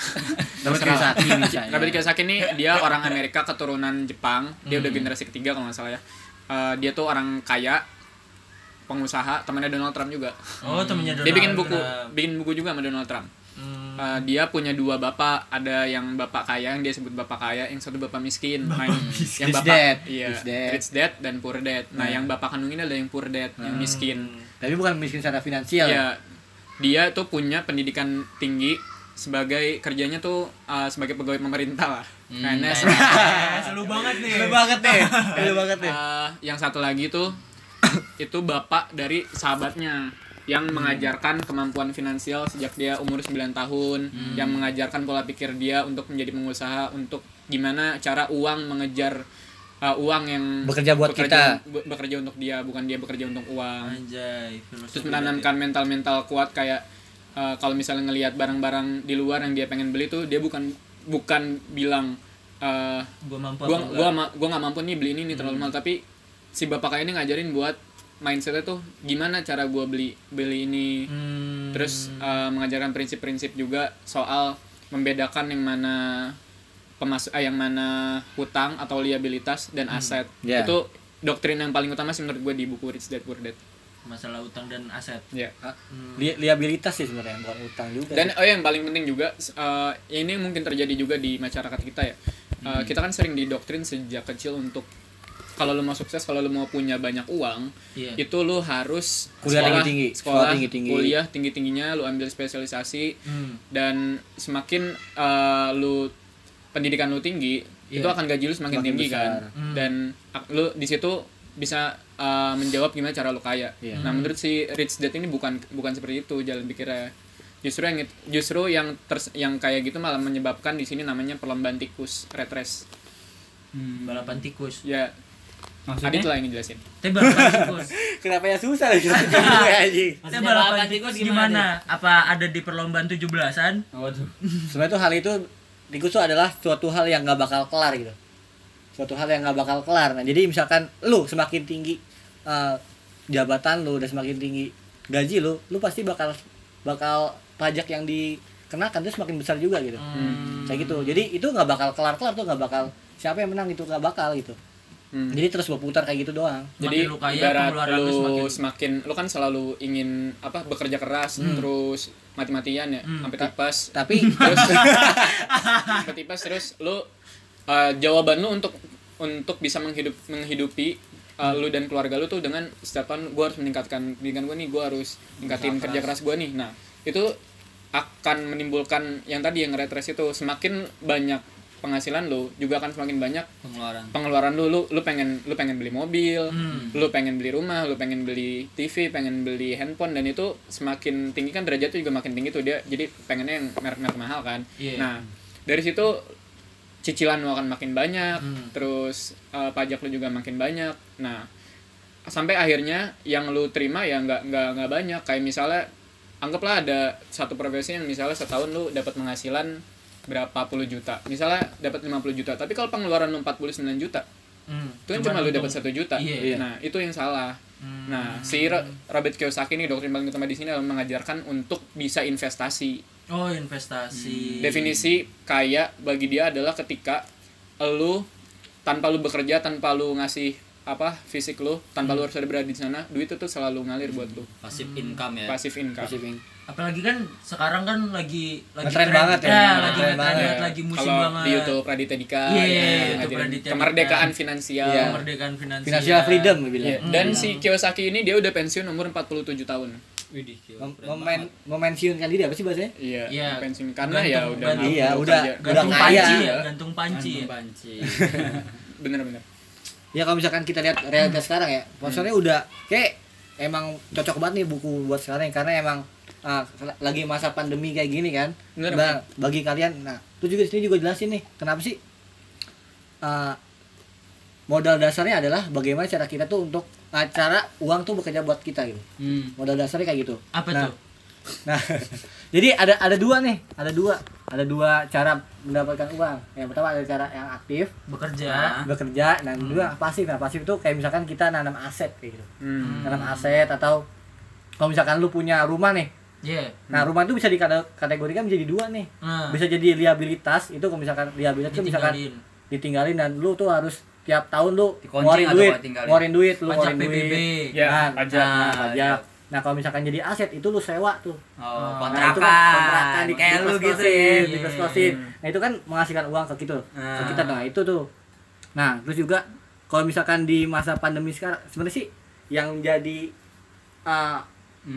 [SPEAKER 3] Dapat Kiyosaki
[SPEAKER 5] [laughs]
[SPEAKER 3] misalnya.
[SPEAKER 5] Robert Kiyosaki ini dia orang Amerika keturunan Jepang. Dia udah generasi ketiga kalau nggak salah ya. Eh, dia tuh orang kaya, pengusaha, temannya Donald Trump juga.
[SPEAKER 4] Oh, temennya Donald.
[SPEAKER 5] dia bikin buku,
[SPEAKER 4] Trump.
[SPEAKER 5] bikin buku juga sama Donald Trump.
[SPEAKER 4] Hmm.
[SPEAKER 5] Eh, dia punya dua bapak, ada yang bapak kaya yang dia sebut bapak kaya, yang satu bapak miskin. Nah, yang
[SPEAKER 3] Rich
[SPEAKER 5] bapak
[SPEAKER 3] dad.
[SPEAKER 5] iya,
[SPEAKER 3] Rich dad.
[SPEAKER 5] rich dad dan poor dad. Nah, yang bapak kandung ini ada yang poor dad, yang miskin.
[SPEAKER 3] Tapi bukan miskin secara finansial.
[SPEAKER 5] Iya. Dia tuh punya pendidikan tinggi sebagai kerjanya tuh uh, sebagai pegawai pemerintah lah. Karena
[SPEAKER 4] Eh, selu banget nih.
[SPEAKER 3] Lu banget [laughs] nih. Lu banget ya. nih.
[SPEAKER 5] uh, yang satu lagi tuh [coughs] itu bapak dari sahabatnya yang
[SPEAKER 3] Hmm.
[SPEAKER 5] mengajarkan kemampuan finansial sejak dia umur 9 tahun,
[SPEAKER 3] Hmm.
[SPEAKER 5] yang mengajarkan pola pikir dia untuk menjadi pengusaha, untuk gimana cara uang mengejar uh, uang yang
[SPEAKER 3] Bekerja buat
[SPEAKER 5] kita, bekerja untuk dia, bukan dia bekerja untuk uang
[SPEAKER 4] Anjay, filosofi
[SPEAKER 5] terus menanamkan mental-mental kuat kayak uh, kalau misalnya ngelihat barang-barang di luar yang dia pengen beli tuh dia bukan bukan bilang uh,
[SPEAKER 4] gua mampu
[SPEAKER 5] gua
[SPEAKER 4] apa
[SPEAKER 5] gua
[SPEAKER 4] enggak?
[SPEAKER 5] ma- gua nggak mampu nih beli ini nih terlalu mahal tapi si bapak kayak ini ngajarin buat mindsetnya tuh gimana cara gua beli beli ini
[SPEAKER 4] Hmm.
[SPEAKER 5] terus uh, mengajarkan prinsip-prinsip juga soal membedakan yang mana pemasuk eh, yang mana hutang atau liabilitas dan aset
[SPEAKER 3] Yeah.
[SPEAKER 5] itu doktrin yang paling utama sih menurut gue di buku Rich Dad Poor Dad
[SPEAKER 4] masalah utang dan aset.
[SPEAKER 5] ya
[SPEAKER 3] Li- liabilitas sih sebenarnya bukan utang juga.
[SPEAKER 5] Dan oh yang paling penting juga s- eh, ini mungkin terjadi juga di masyarakat kita ya. Eh,
[SPEAKER 3] Hmm.
[SPEAKER 5] Kita kan sering didoktrin sejak kecil untuk kalau lu mau sukses, kalau lu mau punya banyak uang,
[SPEAKER 4] Iya.
[SPEAKER 5] itu lu harus
[SPEAKER 3] Kuliah
[SPEAKER 5] sekolah-
[SPEAKER 3] tinggi-tinggi,
[SPEAKER 5] sekolah,
[SPEAKER 3] sekolah tinggi-tinggi.
[SPEAKER 5] kuliah tinggi-tingginya, lu ambil spesialisasi
[SPEAKER 4] Hmm.
[SPEAKER 5] dan semakin eh, lu pendidikan lu tinggi,
[SPEAKER 4] Iya.
[SPEAKER 5] itu akan gaji lu semakin,
[SPEAKER 3] Semakin
[SPEAKER 5] tinggi
[SPEAKER 3] besar.
[SPEAKER 5] kan.
[SPEAKER 4] Hmm.
[SPEAKER 5] Dan ak- lu di situ bisa eh, menjawab gimana cara lu kaya.
[SPEAKER 4] Hmm.
[SPEAKER 3] Iya.
[SPEAKER 5] Nah, menurut si Rich Dad ini bukan bukan seperti itu jalan pikirnya. justru yang it- justru yang ters- yang kayak gitu malah menyebabkan di sini namanya perlombaan tikus red race
[SPEAKER 4] Hmm, balapan tikus
[SPEAKER 5] ya
[SPEAKER 1] Maksudnya?
[SPEAKER 5] Adit lah yang jelasin
[SPEAKER 4] tapi [laughs] balapan tikus
[SPEAKER 3] Kenapa ya
[SPEAKER 5] [laughs]
[SPEAKER 3] susah lagi anjing?
[SPEAKER 4] tapi balapan tikus gimana apa ada di perlombaan 17-an
[SPEAKER 1] Waduh.
[SPEAKER 3] Sebenarnya tuh hal itu tikus tuh adalah suatu hal yang nggak bakal kelar gitu. Suatu hal yang nggak bakal kelar. Nah, jadi misalkan lu semakin tinggi eh, jabatan lu dan semakin tinggi gaji lu, lu pasti bakal bakal pajak yang dikenakan tuh semakin besar juga gitu.
[SPEAKER 5] Hmm.
[SPEAKER 3] Kayak gitu. Jadi itu nggak bakal kelar-kelar tuh nggak bakal siapa yang menang itu nggak bakal gitu.
[SPEAKER 5] Hmm.
[SPEAKER 3] Jadi terus berputar kayak gitu doang.
[SPEAKER 5] jadi
[SPEAKER 4] Makin lu kaya,
[SPEAKER 5] ibarat
[SPEAKER 4] pengeluaran lu
[SPEAKER 5] lu
[SPEAKER 4] semakin-
[SPEAKER 5] semakin... lu kan selalu ingin apa bekerja keras terus mati-matian ya sampai tipes
[SPEAKER 3] Tapi
[SPEAKER 5] [laughs] terus sampai tipes terus lu uh, jawaban lu untuk untuk bisa menghidup menghidupi uh, lu dan keluarga lu tuh dengan setiapan gue harus meningkatkan pendidikan gue nih gue harus ningkatin kerja keras gue nih nah itu akan menimbulkan yang tadi yang retres itu semakin banyak penghasilan lu juga akan semakin banyak
[SPEAKER 1] Pengeluaran.
[SPEAKER 5] pengeluaran lu lu lu pengen lu pengen beli mobil lu pengen beli rumah lu pengen beli TV pengen beli handphone dan itu semakin tinggi kan derajatnya juga makin tinggi tuh dia jadi pengennya yang merek-merek mahal kan
[SPEAKER 4] Iya.
[SPEAKER 5] nah dari situ cicilan lu akan makin banyak terus eh, pajak lu juga makin banyak nah sampai akhirnya yang lu terima ya nggak nggak nggak banyak kayak misalnya anggaplah ada satu profesi yang misalnya setahun lu dapat penghasilan berapa puluh juta misalnya dapat 50 juta tapi kalau pengeluaran lu 49 juta
[SPEAKER 4] Hmm.
[SPEAKER 5] itu kan cuma lu dapat satu juta
[SPEAKER 4] Iya. hmm.
[SPEAKER 5] nah itu yang salah nah si Ro- Robert Kiyosaki ini doktrin paling utama di sini adalah mengajarkan untuk bisa investasi
[SPEAKER 4] oh
[SPEAKER 5] Hmm.
[SPEAKER 4] investasi
[SPEAKER 5] definisi kaya bagi dia adalah ketika lu tanpa lu bekerja tanpa lu ngasih apa fisik lu tanpa
[SPEAKER 4] Hmm.
[SPEAKER 5] lu harus ada berada di sana duit itu tuh selalu ngalir buat lu
[SPEAKER 1] Pasif income ya.
[SPEAKER 4] Iya.
[SPEAKER 5] pasif income
[SPEAKER 4] apalagi kan sekarang kan lagi lagi
[SPEAKER 3] Ngetren banget ya,
[SPEAKER 4] ya,
[SPEAKER 3] ngetren
[SPEAKER 4] lagi
[SPEAKER 3] banget.
[SPEAKER 4] ngetren banget,
[SPEAKER 5] Ya,
[SPEAKER 4] lagi musim
[SPEAKER 5] kalau
[SPEAKER 4] banget
[SPEAKER 5] di YouTube Raditya Dika
[SPEAKER 4] Iya,
[SPEAKER 5] ya,
[SPEAKER 4] YouTube
[SPEAKER 5] ngajarin
[SPEAKER 4] Raditya Dika.
[SPEAKER 5] kemerdekaan finansial
[SPEAKER 3] Iya.
[SPEAKER 4] kemerdekaan finansial
[SPEAKER 3] [laughs] financial freedom gue bilang.
[SPEAKER 5] Iya, dan
[SPEAKER 4] Hmm.
[SPEAKER 5] si Kiyosaki ini dia udah pensiun umur 47 tahun
[SPEAKER 1] Widih, gila.
[SPEAKER 3] Mem- memen- memensiunkan diri apa sih bahasanya?
[SPEAKER 5] Iya,
[SPEAKER 4] Iya,
[SPEAKER 5] pensiun karena ya
[SPEAKER 4] gantung
[SPEAKER 5] udah
[SPEAKER 4] ban-
[SPEAKER 5] nggak
[SPEAKER 3] iya,
[SPEAKER 5] perlu
[SPEAKER 3] udah-
[SPEAKER 5] kerja.
[SPEAKER 4] gantung
[SPEAKER 3] Udah kaya.
[SPEAKER 4] panci ya gantung panci ya
[SPEAKER 5] Iya.
[SPEAKER 1] Panci.
[SPEAKER 5] bener-bener
[SPEAKER 3] Ya kalau misalkan kita lihat realitas sekarang ya, maksudnya udah kayak emang cocok banget nih buku buat sekarang ya, karena emang ah, lagi masa pandemi kayak gini kan.
[SPEAKER 5] Bener,
[SPEAKER 3] Nah, bagi kalian, nah terus juga di sini juga jelasin nih kenapa sih ah, modal dasarnya adalah bagaimana cara kita tuh untuk ah, cara uang tuh bekerja buat kita gitu.
[SPEAKER 1] Hmm.
[SPEAKER 3] Modal dasarnya kayak gitu.
[SPEAKER 4] apa
[SPEAKER 3] Nah,
[SPEAKER 4] tuh
[SPEAKER 3] Nah, [laughs] jadi ada ada dua nih, ada dua, ada dua cara mendapatkan uang. Yang pertama ada cara yang aktif,
[SPEAKER 4] bekerja
[SPEAKER 3] bekerja dan juga pasif nah pasif itu kayak misalkan kita nanam aset kayak gitu
[SPEAKER 5] Hmm.
[SPEAKER 3] nanam aset atau kalau misalkan lu punya rumah nih
[SPEAKER 4] ya
[SPEAKER 3] nah rumah itu bisa dikategorikan menjadi dua nih
[SPEAKER 4] nah
[SPEAKER 3] bisa jadi liabilitas itu kalau misalkan liabilitas itu kan? misalkan
[SPEAKER 4] ditinggalin
[SPEAKER 1] eh,
[SPEAKER 3] ditinggalin dan lu tuh harus tiap tahun lu
[SPEAKER 1] Dikoncing
[SPEAKER 3] ngeluarin
[SPEAKER 1] atau
[SPEAKER 3] duit
[SPEAKER 1] nggak tinggalin?
[SPEAKER 3] ngeluarin duit lu
[SPEAKER 4] pajak
[SPEAKER 3] ngeluarin
[SPEAKER 4] PBB
[SPEAKER 3] duit
[SPEAKER 5] Ya,
[SPEAKER 3] Nah,
[SPEAKER 5] pajak.
[SPEAKER 1] Ah,
[SPEAKER 3] nah, pajak nah kalau misalkan jadi aset itu lu sewa tuh
[SPEAKER 1] Oh,
[SPEAKER 3] Nah, itu
[SPEAKER 1] kontrakan.
[SPEAKER 3] kan kontrakan di
[SPEAKER 1] kayak lu gitu ya.
[SPEAKER 3] dikos-kosin, dikos-kosin. Nah, itu kan menghasilkan uang ke kita. Ke kita nah itu tuh. Nah, terus juga kalau misalkan di masa pandemi sekarang sebenarnya sih yang jadi uh,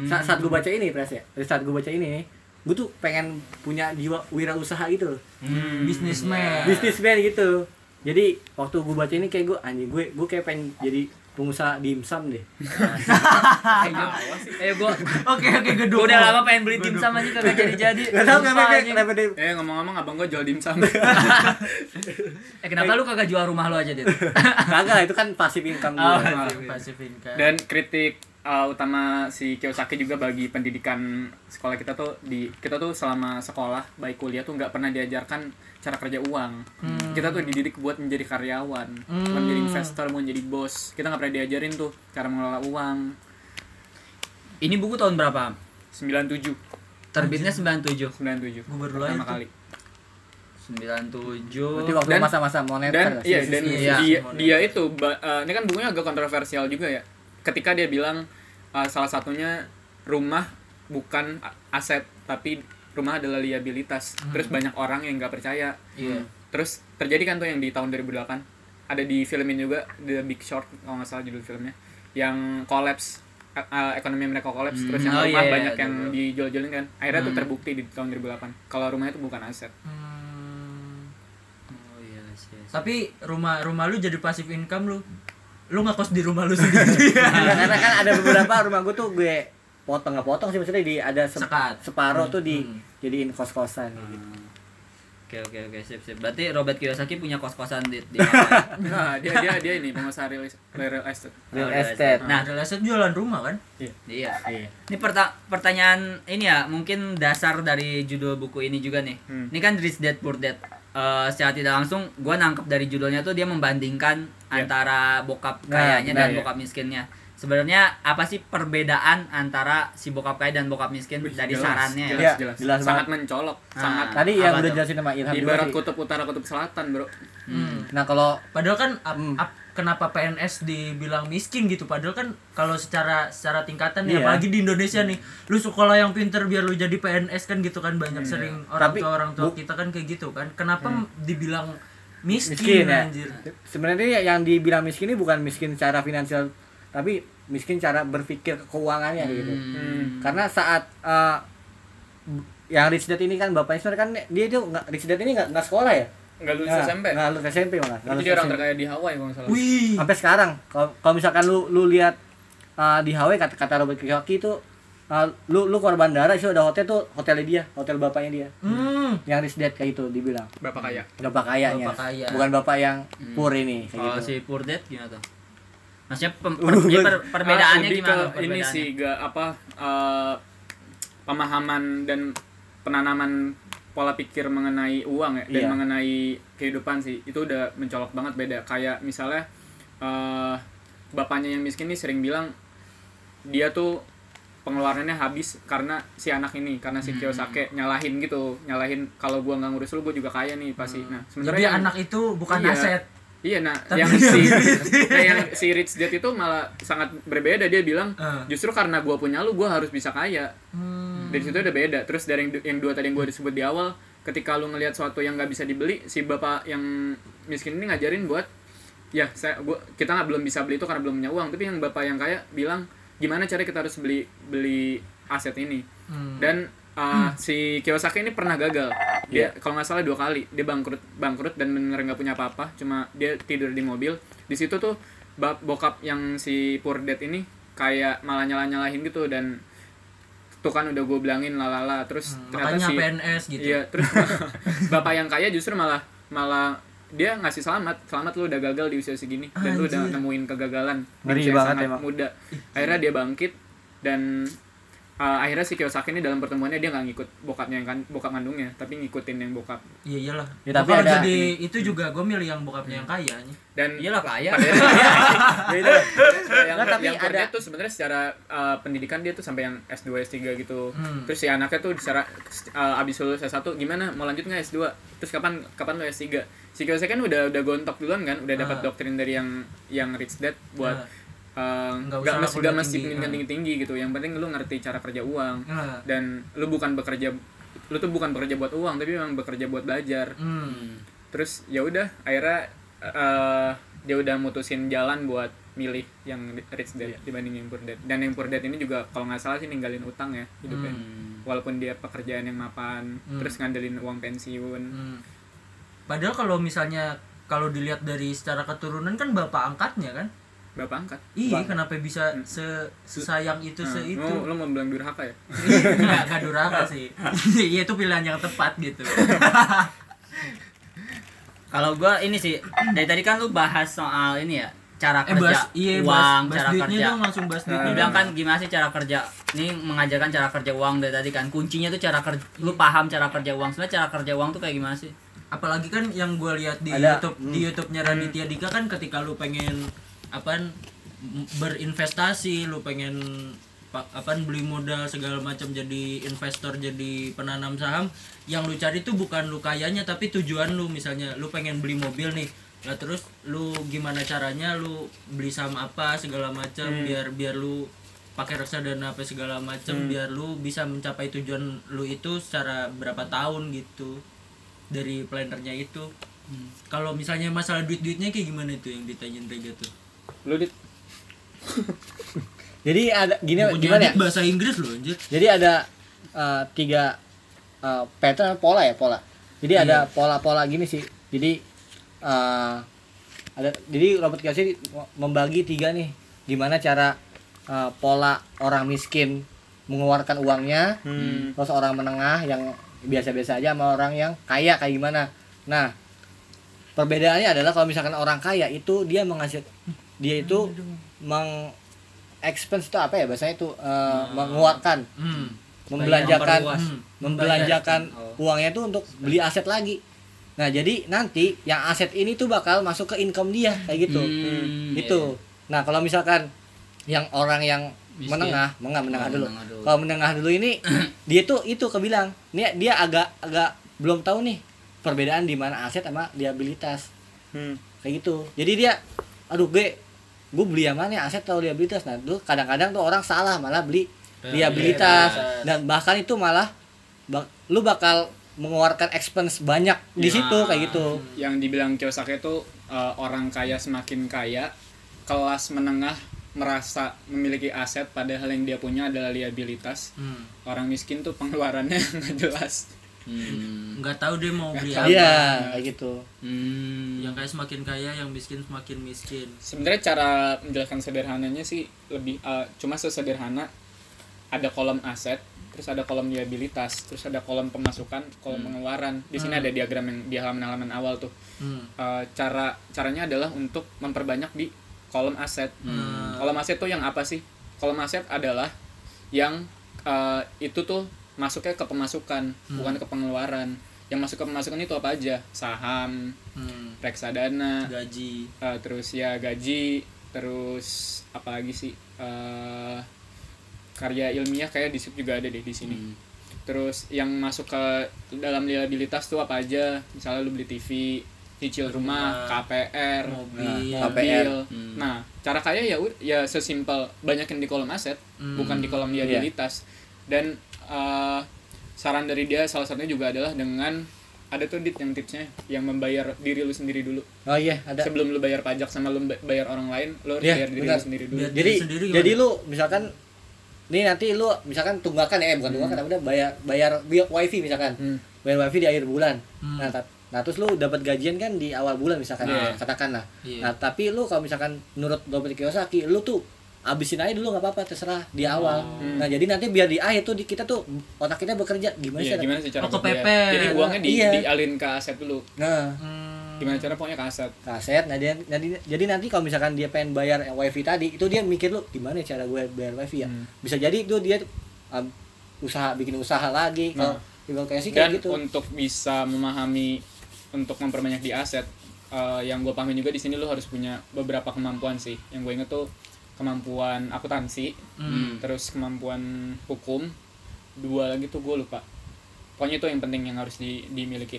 [SPEAKER 3] sa- saat gue baca ini pres ya. Dari saat gue baca ini gue tuh pengen punya jiwa wirausaha gitu loh.
[SPEAKER 4] bisnismen
[SPEAKER 3] Businessman gitu. Jadi waktu gue baca ini kayak gue anjing gue gue kayak pengen jadi pengusaha dimsum deh.
[SPEAKER 1] Eh gua
[SPEAKER 4] oke oke gedung
[SPEAKER 1] gua udah lama pengen beli tim sama aja kagak jadi-jadi.
[SPEAKER 3] Gak tau
[SPEAKER 1] Sumpah,
[SPEAKER 3] kenapa
[SPEAKER 1] anjing.
[SPEAKER 3] kenapa dia
[SPEAKER 5] Eh ngomong-ngomong abang gue jual dimsum.
[SPEAKER 1] Eh kenapa lu kagak jual rumah lu aja, Dit? Oh,
[SPEAKER 3] kagak itu kan pasif income gue.
[SPEAKER 4] pasif income
[SPEAKER 5] [laughs] Dan kritik uh, utama si Kiyosaki juga bagi pendidikan sekolah kita tuh di kita tuh selama sekolah baik kuliah tuh nggak pernah diajarkan cara kerja uang.
[SPEAKER 4] Hmm.
[SPEAKER 5] Kita tuh dididik buat menjadi karyawan, buat menjadi investor, buat menjadi bos. Kita nggak pernah diajarin tuh cara mengelola uang.
[SPEAKER 1] Ini buku tahun berapa?
[SPEAKER 5] 97,
[SPEAKER 1] Terbitnya 97.
[SPEAKER 5] 97.
[SPEAKER 4] Gua baru lahir tuh.
[SPEAKER 5] pertama kali.
[SPEAKER 1] 97.
[SPEAKER 3] Berarti waktu
[SPEAKER 5] Dan-
[SPEAKER 3] masa-masa moneter
[SPEAKER 5] dan
[SPEAKER 3] lah,
[SPEAKER 5] iya
[SPEAKER 3] sisi-
[SPEAKER 5] dan
[SPEAKER 3] sisi-
[SPEAKER 1] iya.
[SPEAKER 5] dia dia itu ba- eh, ini kan bukunya agak kontroversial juga ya ketika dia bilang eh, salah satunya rumah bukan a- aset tapi rumah adalah liabilitas
[SPEAKER 1] Hmm.
[SPEAKER 5] terus banyak orang yang nggak percaya Hmm.
[SPEAKER 4] Iya.
[SPEAKER 5] terus terjadi kan tuh yang di tahun 2008 ada di filmin juga The Big Short kalau nggak salah judul filmnya yang collapse eh, eh, ekonomi mereka collapse terus yang
[SPEAKER 1] Oh,
[SPEAKER 5] rumah
[SPEAKER 1] iya,
[SPEAKER 5] banyak
[SPEAKER 1] iya, Hmm.
[SPEAKER 5] yang
[SPEAKER 1] betul.
[SPEAKER 5] dijual-jualin kan akhirnya tuh terbukti di tahun 2008 kalau rumahnya itu bukan
[SPEAKER 1] [laughs]
[SPEAKER 5] aset
[SPEAKER 4] Hmm.
[SPEAKER 1] Oh iya sih.
[SPEAKER 4] tapi rumah rumah lu jadi pasif
[SPEAKER 3] [laughs]
[SPEAKER 4] income lu lu nggak kos di rumah lu sendiri
[SPEAKER 3] Nah, karena kan ada beberapa rumah gue tuh gue potong nggak potong sih maksudnya di ada sep-
[SPEAKER 2] Sekat.
[SPEAKER 3] separuh tuh di
[SPEAKER 2] Hmm.
[SPEAKER 3] jadiin kos-kosan gitu.
[SPEAKER 2] Oke oke oke sip sip. Berarti Robert Kiyosaki punya kos-kosan di, di mana?
[SPEAKER 5] Nah, dia dia dia ini pengusaha real, real estate.
[SPEAKER 3] Real
[SPEAKER 2] Oh,
[SPEAKER 3] estate.
[SPEAKER 2] Nah,
[SPEAKER 4] Nah, real estate jualan rumah kan?
[SPEAKER 2] iya.
[SPEAKER 3] Iya.
[SPEAKER 1] Ini perta- pertanyaan ini ya mungkin dasar dari judul buku ini juga nih.
[SPEAKER 5] Hmm.
[SPEAKER 1] Ini kan Rich Dad Poor Dad. Eh, secara tidak langsung gue nangkep dari judulnya tuh dia membandingkan antara bokap
[SPEAKER 3] Nah,
[SPEAKER 1] kayanya
[SPEAKER 3] benar,
[SPEAKER 1] dan
[SPEAKER 5] ya.
[SPEAKER 1] bokap miskinnya. Sebenarnya apa sih perbedaan antara si bokap kaya dan bokap miskin
[SPEAKER 5] Wih,
[SPEAKER 1] dari
[SPEAKER 5] jelas,
[SPEAKER 1] sarannya? ya?
[SPEAKER 5] Jelas,
[SPEAKER 3] Iya,
[SPEAKER 5] jelas.
[SPEAKER 3] jelas
[SPEAKER 5] sangat mencolok,
[SPEAKER 1] Ah.
[SPEAKER 5] sangat
[SPEAKER 3] Tadi yang
[SPEAKER 1] Apa
[SPEAKER 3] udah
[SPEAKER 1] tuh?
[SPEAKER 3] jelasin sama Ilham juga
[SPEAKER 5] ibarat
[SPEAKER 3] sih.
[SPEAKER 5] kutub utara kutub selatan, Bro.
[SPEAKER 2] Hmm.
[SPEAKER 3] Nah, kalau
[SPEAKER 4] Padahal kan ap-
[SPEAKER 3] Hmm.
[SPEAKER 4] ap- kenapa PNS dibilang miskin gitu? Padahal kan kalau secara secara tingkatan
[SPEAKER 3] Iya.
[SPEAKER 4] ya apalagi di Indonesia nih, lu sekolah yang pinter biar lu jadi PNS kan gitu kan banyak sering orang
[SPEAKER 3] Iya. Tapi
[SPEAKER 4] tua orang tua
[SPEAKER 3] bu- Hmm.
[SPEAKER 4] kita kan kayak gitu kan. Kenapa dibilang miskin,
[SPEAKER 3] miskin ya.
[SPEAKER 4] anjir?
[SPEAKER 3] Sebenarnya yang dibilang miskin ini bukan miskin secara finansial, tapi miskin cara berpikir keuangannya gitu. Karena saat eh, b- yang rich dad ini kan bapaknya sebenarnya kan dia itu nggak rich dad ini nggak nggak sekolah ya?
[SPEAKER 5] Enggak lulus
[SPEAKER 3] Nggak-
[SPEAKER 5] SMP.
[SPEAKER 3] Nggak lulus SMP malah. nggak
[SPEAKER 5] Jadi
[SPEAKER 3] lulus
[SPEAKER 5] dia orang
[SPEAKER 3] SMP.
[SPEAKER 5] terkaya di Hawaii kalau nggak salah.
[SPEAKER 4] Wih.
[SPEAKER 3] sampai sekarang kalau kalau misalkan lu lu lihat uh, di Hawaii kata kata Robert Kiyosaki itu uh, lu lu korban darah sih udah hotel tuh hotelnya dia hotel bapaknya dia
[SPEAKER 4] Hmm.
[SPEAKER 3] yang rich dad kayak itu dibilang
[SPEAKER 5] Berapa kaya?
[SPEAKER 3] bapak kayanya
[SPEAKER 4] Bapak kaya. Hmm. Oh,
[SPEAKER 3] bukan bapak yang poor ini kayak
[SPEAKER 1] Kalau
[SPEAKER 3] gitu
[SPEAKER 1] si Poor Dad gimana tuh?
[SPEAKER 3] [laughs]
[SPEAKER 1] Maksudnya pem- per- ini per- perbedaannya
[SPEAKER 5] Ah, lebih
[SPEAKER 1] gimana?
[SPEAKER 5] ke ini
[SPEAKER 1] perbedaannya?
[SPEAKER 5] sih gak apa eh, pemahaman dan penanaman pola pikir mengenai uang ya dan
[SPEAKER 3] Iya.
[SPEAKER 5] mengenai kehidupan sih itu udah mencolok banget beda kayak misalnya eh, bapaknya yang miskin nih sering bilang dia tuh pengeluarannya habis karena si anak ini karena
[SPEAKER 1] Hmm,
[SPEAKER 5] si Kiyosaki nyalahin gitu nyalahin kalau gua nggak ngurus lu gua juga kaya nih pasti
[SPEAKER 1] Hmm.
[SPEAKER 5] nah
[SPEAKER 4] Jadi
[SPEAKER 5] yang-
[SPEAKER 4] anak itu bukan
[SPEAKER 5] Iya.
[SPEAKER 4] aset.
[SPEAKER 5] Iya, nah
[SPEAKER 4] Tapi
[SPEAKER 5] yang si nah, yang si Rich Dad itu malah sangat berbeda dia bilang
[SPEAKER 4] Eh.
[SPEAKER 5] justru karena gua punya lu gua harus bisa kaya.
[SPEAKER 4] Hmm,
[SPEAKER 5] Dari situ udah beda. Terus dari yang, yang dua tadi yang gua disebut di awal, ketika lu ngelihat suatu yang nggak bisa dibeli, si bapak yang miskin ini ngajarin buat ya saya gua kita nggak belum bisa beli itu karena belum punya uang, tapi yang bapak yang kaya bilang gimana cara kita harus beli beli aset ini. Dan uh, si Kiyosaki ini pernah gagal. Dia kalau nggak salah dua kali dia bangkrut bangkrut dan benar nggak punya apa-apa. Cuma dia tidur di mobil. Di situ tuh bap- bokap yang si poor dad ini kayak malah nyalah nyalahin gitu dan tuh kan udah gue bilangin lalala terus ternyata
[SPEAKER 4] Hmm. Makanya
[SPEAKER 5] si
[SPEAKER 4] PNS gitu.
[SPEAKER 5] iya terus [laughs] bapak yang kaya justru malah malah dia ngasih selamat selamat lu udah gagal di usia segini dan lu udah
[SPEAKER 4] Anjir.
[SPEAKER 5] nemuin kegagalan di
[SPEAKER 3] Ngeri
[SPEAKER 5] usia
[SPEAKER 3] banget
[SPEAKER 5] sangat
[SPEAKER 3] emang.
[SPEAKER 5] muda akhirnya dia bangkit dan uh, akhirnya si Kiyosaki ini dalam pertemuannya dia nggak ngikut bokapnya yang kan bokap kandungnya tapi ngikutin yang bokap
[SPEAKER 4] Iya iyalah.
[SPEAKER 3] Ya, tapi
[SPEAKER 4] Kalau
[SPEAKER 3] ada-
[SPEAKER 4] jadi itu juga gue milih yang bokapnya yang kaya anjir.
[SPEAKER 5] dan
[SPEAKER 1] Iyalah kaya.
[SPEAKER 4] iya. [laughs]
[SPEAKER 3] Beda.
[SPEAKER 4] Nah,
[SPEAKER 5] yang,
[SPEAKER 3] Nggak, tapi
[SPEAKER 5] yang poor
[SPEAKER 3] ada-
[SPEAKER 5] dad tuh sebenarnya secara uh, pendidikan dia tuh sampai yang S2 S3 gitu.
[SPEAKER 4] Hmm.
[SPEAKER 5] Terus si anaknya tuh secara uh, abis lulus S1 gimana mau lanjut nggak S2? Terus kapan kapan lu S3? Si Kiyosaki kan udah udah gontok duluan kan, udah dapat
[SPEAKER 4] Ah.
[SPEAKER 5] doktrin dari yang yang rich dad buat uh,
[SPEAKER 4] Nggak
[SPEAKER 5] nggak
[SPEAKER 4] usah
[SPEAKER 5] mesti
[SPEAKER 4] kuliah
[SPEAKER 5] nggak mesti
[SPEAKER 4] tinggi.
[SPEAKER 5] pendidikan
[SPEAKER 4] Ah.
[SPEAKER 5] tinggi-tinggi gitu. Yang penting lu ngerti cara kerja uang
[SPEAKER 4] Ah.
[SPEAKER 5] dan lu bukan bekerja lu tuh bukan bekerja buat uang tapi memang bekerja buat belajar
[SPEAKER 4] Hmm.
[SPEAKER 5] terus ya udah akhirnya eh, dia udah mutusin jalan buat milih yang rich dad dibanding yang poor dad dan yang poor dad ini juga kalau nggak salah sih ninggalin utang ya hidupnya walaupun dia pekerjaan yang mapan
[SPEAKER 4] Hmm.
[SPEAKER 5] terus ngandelin uang pensiun
[SPEAKER 4] Hmm. Padahal kalau misalnya kalau dilihat dari secara keturunan kan bapak angkatnya kan.
[SPEAKER 5] bapak angkat
[SPEAKER 4] Iya,
[SPEAKER 3] Bang.
[SPEAKER 4] kenapa bisa se sayang itu se
[SPEAKER 5] Hmm.
[SPEAKER 4] itu?
[SPEAKER 5] Lu-
[SPEAKER 4] [laughs]
[SPEAKER 5] lu, mau bilang durhaka ya
[SPEAKER 4] Enggak, enggak durhaka sih. [laughs] Iya, itu pilihan yang tepat gitu.
[SPEAKER 1] Kalau gua ini sih dari tadi kan lu bahas soal ini ya cara
[SPEAKER 4] eh,
[SPEAKER 1] kerja
[SPEAKER 4] bahas iya,
[SPEAKER 1] uang,
[SPEAKER 4] bahas, bahas
[SPEAKER 1] cara
[SPEAKER 4] duitnya
[SPEAKER 1] kerja.
[SPEAKER 4] dong, langsung bahas duitnya.
[SPEAKER 1] Lu bilang kan gimana sih cara kerja? Ini mengajarkan cara kerja uang dari tadi kan. Kuncinya tuh cara kerja. Lu paham cara kerja uang. Sebenarnya cara kerja uang tuh kayak gimana sih?
[SPEAKER 4] apalagi kan yang gue lihat di
[SPEAKER 3] Ada,
[SPEAKER 4] YouTube di YouTube-nya Raditya Dika kan ketika lu pengen apaan m- berinvestasi, lu pengen pa- apaan beli modal segala macam jadi investor, jadi penanam saham, yang lu cari tuh bukan lu kayanya tapi tujuan lu misalnya lu pengen beli mobil nih. Nah, terus lu gimana caranya lu beli saham apa segala macam biar biar lu pakai reksadana apa segala macam biar lu bisa mencapai tujuan lu itu secara berapa tahun gitu dari planernya itu Hmm. kalau misalnya masalah duit duitnya kayak gimana tuh yang ditanyain Rega tuh
[SPEAKER 5] [laughs] lu dit
[SPEAKER 3] jadi ada gini
[SPEAKER 4] Bukunya
[SPEAKER 3] gimana ya
[SPEAKER 4] Adit bahasa Inggris loh anjir
[SPEAKER 3] jadi ada uh, tiga uh, pattern pola ya pola jadi ada pola-pola gini sih jadi uh, ada jadi Robert Kiyosaki membagi tiga nih gimana cara uh, pola eh, orang miskin mengeluarkan uangnya
[SPEAKER 5] Hmm.
[SPEAKER 3] terus orang menengah yang biasa-biasa aja sama orang yang kaya kayak gimana nah perbedaannya adalah kalau misalkan orang kaya itu dia menghasil dia itu meng expense itu apa ya bahasanya itu eh, mengeluarkan
[SPEAKER 4] Hmm.
[SPEAKER 3] membelanjakan
[SPEAKER 2] memperluas.
[SPEAKER 4] Hmm.
[SPEAKER 3] membelanjakan
[SPEAKER 1] oh.
[SPEAKER 3] uangnya itu untuk beli aset lagi nah jadi nanti yang aset ini tuh bakal masuk ke income dia kayak gitu
[SPEAKER 1] Hmm,
[SPEAKER 3] itu nah kalau misalkan yang orang yang
[SPEAKER 1] Miskin.
[SPEAKER 3] menengah menengah menengah
[SPEAKER 1] Oh,
[SPEAKER 3] dulu
[SPEAKER 1] menengah dulu.
[SPEAKER 3] kalau menengah dulu
[SPEAKER 1] [coughs]
[SPEAKER 3] ini dia tuh itu kebilang ini dia agak agak belum tahu nih perbedaan di mana aset sama liabilitas
[SPEAKER 5] Hmm.
[SPEAKER 3] kayak gitu jadi dia aduh gue gue beli yang mana ya, aset atau liabilitas nah tuh kadang-kadang tuh orang salah malah beli liabilitas dan bahkan itu malah bak- lu bakal mengeluarkan expense banyak di
[SPEAKER 5] Ya.
[SPEAKER 3] situ kayak gitu
[SPEAKER 5] yang dibilang Kiyosaki itu eh, orang kaya semakin kaya, kelas menengah merasa memiliki aset padahal yang dia punya adalah liabilitas.
[SPEAKER 4] Hmm.
[SPEAKER 5] Orang miskin tuh pengeluarannya [laughs] nggak jelas.
[SPEAKER 1] Hmm.
[SPEAKER 4] nggak tahu dia mau beli apa
[SPEAKER 3] iya kayak gitu
[SPEAKER 1] Hmm.
[SPEAKER 4] yang kaya semakin kaya yang miskin semakin miskin
[SPEAKER 5] Sebenarnya cara menjelaskan sederhananya sih lebih eh, cuma sesederhana ada kolom aset, terus ada kolom liabilitas, terus ada kolom pemasukan, kolom pengeluaran. Di sini ada diagram yang di halaman-halaman awal tuh.
[SPEAKER 4] hmm.
[SPEAKER 5] Eh, cara caranya adalah untuk memperbanyak di kolom aset. Kolom aset tuh yang apa sih? Kolom aset adalah yang eh, itu tuh masuknya ke pemasukan, bukan ke pengeluaran. Yang masuk ke pemasukan itu apa aja? Saham,
[SPEAKER 4] Hmm.
[SPEAKER 5] reksadana,
[SPEAKER 4] gaji
[SPEAKER 5] eh, terus ya gaji, terus apa lagi sih? Eh, karya ilmiah kayak di situ juga ada deh di sini. Terus yang masuk ke dalam liabilitas tuh apa aja? Misalnya lu beli TV, cicil rumah, KPR,
[SPEAKER 4] mobil
[SPEAKER 3] Nah, KPR.
[SPEAKER 5] KPR. Nah, cara kaya ya ud- ya sesimpel banyakin di kolom aset, bukan di kolom liabilitas. Dan eh, saran dari dia salah satunya juga adalah dengan ada tuh dit yang tipsnya yang membayar diri lu sendiri dulu.
[SPEAKER 3] oh iya ada
[SPEAKER 5] Sebelum lu bayar pajak sama lu ba- bayar orang lain, lu harus
[SPEAKER 3] Iya,
[SPEAKER 5] bayar diri
[SPEAKER 3] benar.
[SPEAKER 5] lu sendiri dulu.
[SPEAKER 4] Biar-
[SPEAKER 3] jadi
[SPEAKER 4] diri sendiri gimana?
[SPEAKER 3] jadi lu misalkan nih nanti lu misalkan tunggakan ya eh,
[SPEAKER 4] Hmm.
[SPEAKER 3] bukan tunggakan apa udah bayar bayar bill wifi misalkan
[SPEAKER 5] Hmm.
[SPEAKER 3] bayar wifi di akhir bulan
[SPEAKER 4] Hmm.
[SPEAKER 3] nah ta- nah terus lu dapat gajian kan di awal bulan misalkan
[SPEAKER 5] Iya.
[SPEAKER 3] katakan lah
[SPEAKER 4] Iya.
[SPEAKER 3] nah tapi lu kalau misalkan menurut Robert Kiyosaki lu tuh abisin aja dulu nggak apa-apa terserah di awal
[SPEAKER 4] Oh.
[SPEAKER 3] nah jadi nanti biar di akhir tuh di kita tuh otak kita bekerja gimana sih
[SPEAKER 5] Iya,
[SPEAKER 3] ada-
[SPEAKER 5] gimana sih cara
[SPEAKER 4] Oh,
[SPEAKER 5] berbayar?
[SPEAKER 4] kepepet.
[SPEAKER 5] Jadi uangnya di,
[SPEAKER 3] Iya.
[SPEAKER 5] dialin ke aset dulu.
[SPEAKER 3] nah
[SPEAKER 4] Hmm.
[SPEAKER 5] Gimana cara pokoknya ke aset.
[SPEAKER 3] kaset nah dia, nanti jadi nanti kalau misalkan dia pengen bayar yang wifi tadi itu dia mikir lu gimana cara gue bayar wifi ya
[SPEAKER 5] Hmm.
[SPEAKER 3] bisa jadi itu dia um, usaha bikin usaha lagi kalau
[SPEAKER 5] Nah.
[SPEAKER 3] dibilang kayak sih
[SPEAKER 5] dan
[SPEAKER 3] kayak gitu
[SPEAKER 5] untuk bisa memahami untuk memperbanyak di aset eh, yang gue pahami juga di sini lo harus punya beberapa kemampuan sih yang gue inget tuh kemampuan akuntansi
[SPEAKER 4] Hmm.
[SPEAKER 5] terus kemampuan hukum dua lagi tuh gue lupa pokoknya itu yang penting yang harus di, dimiliki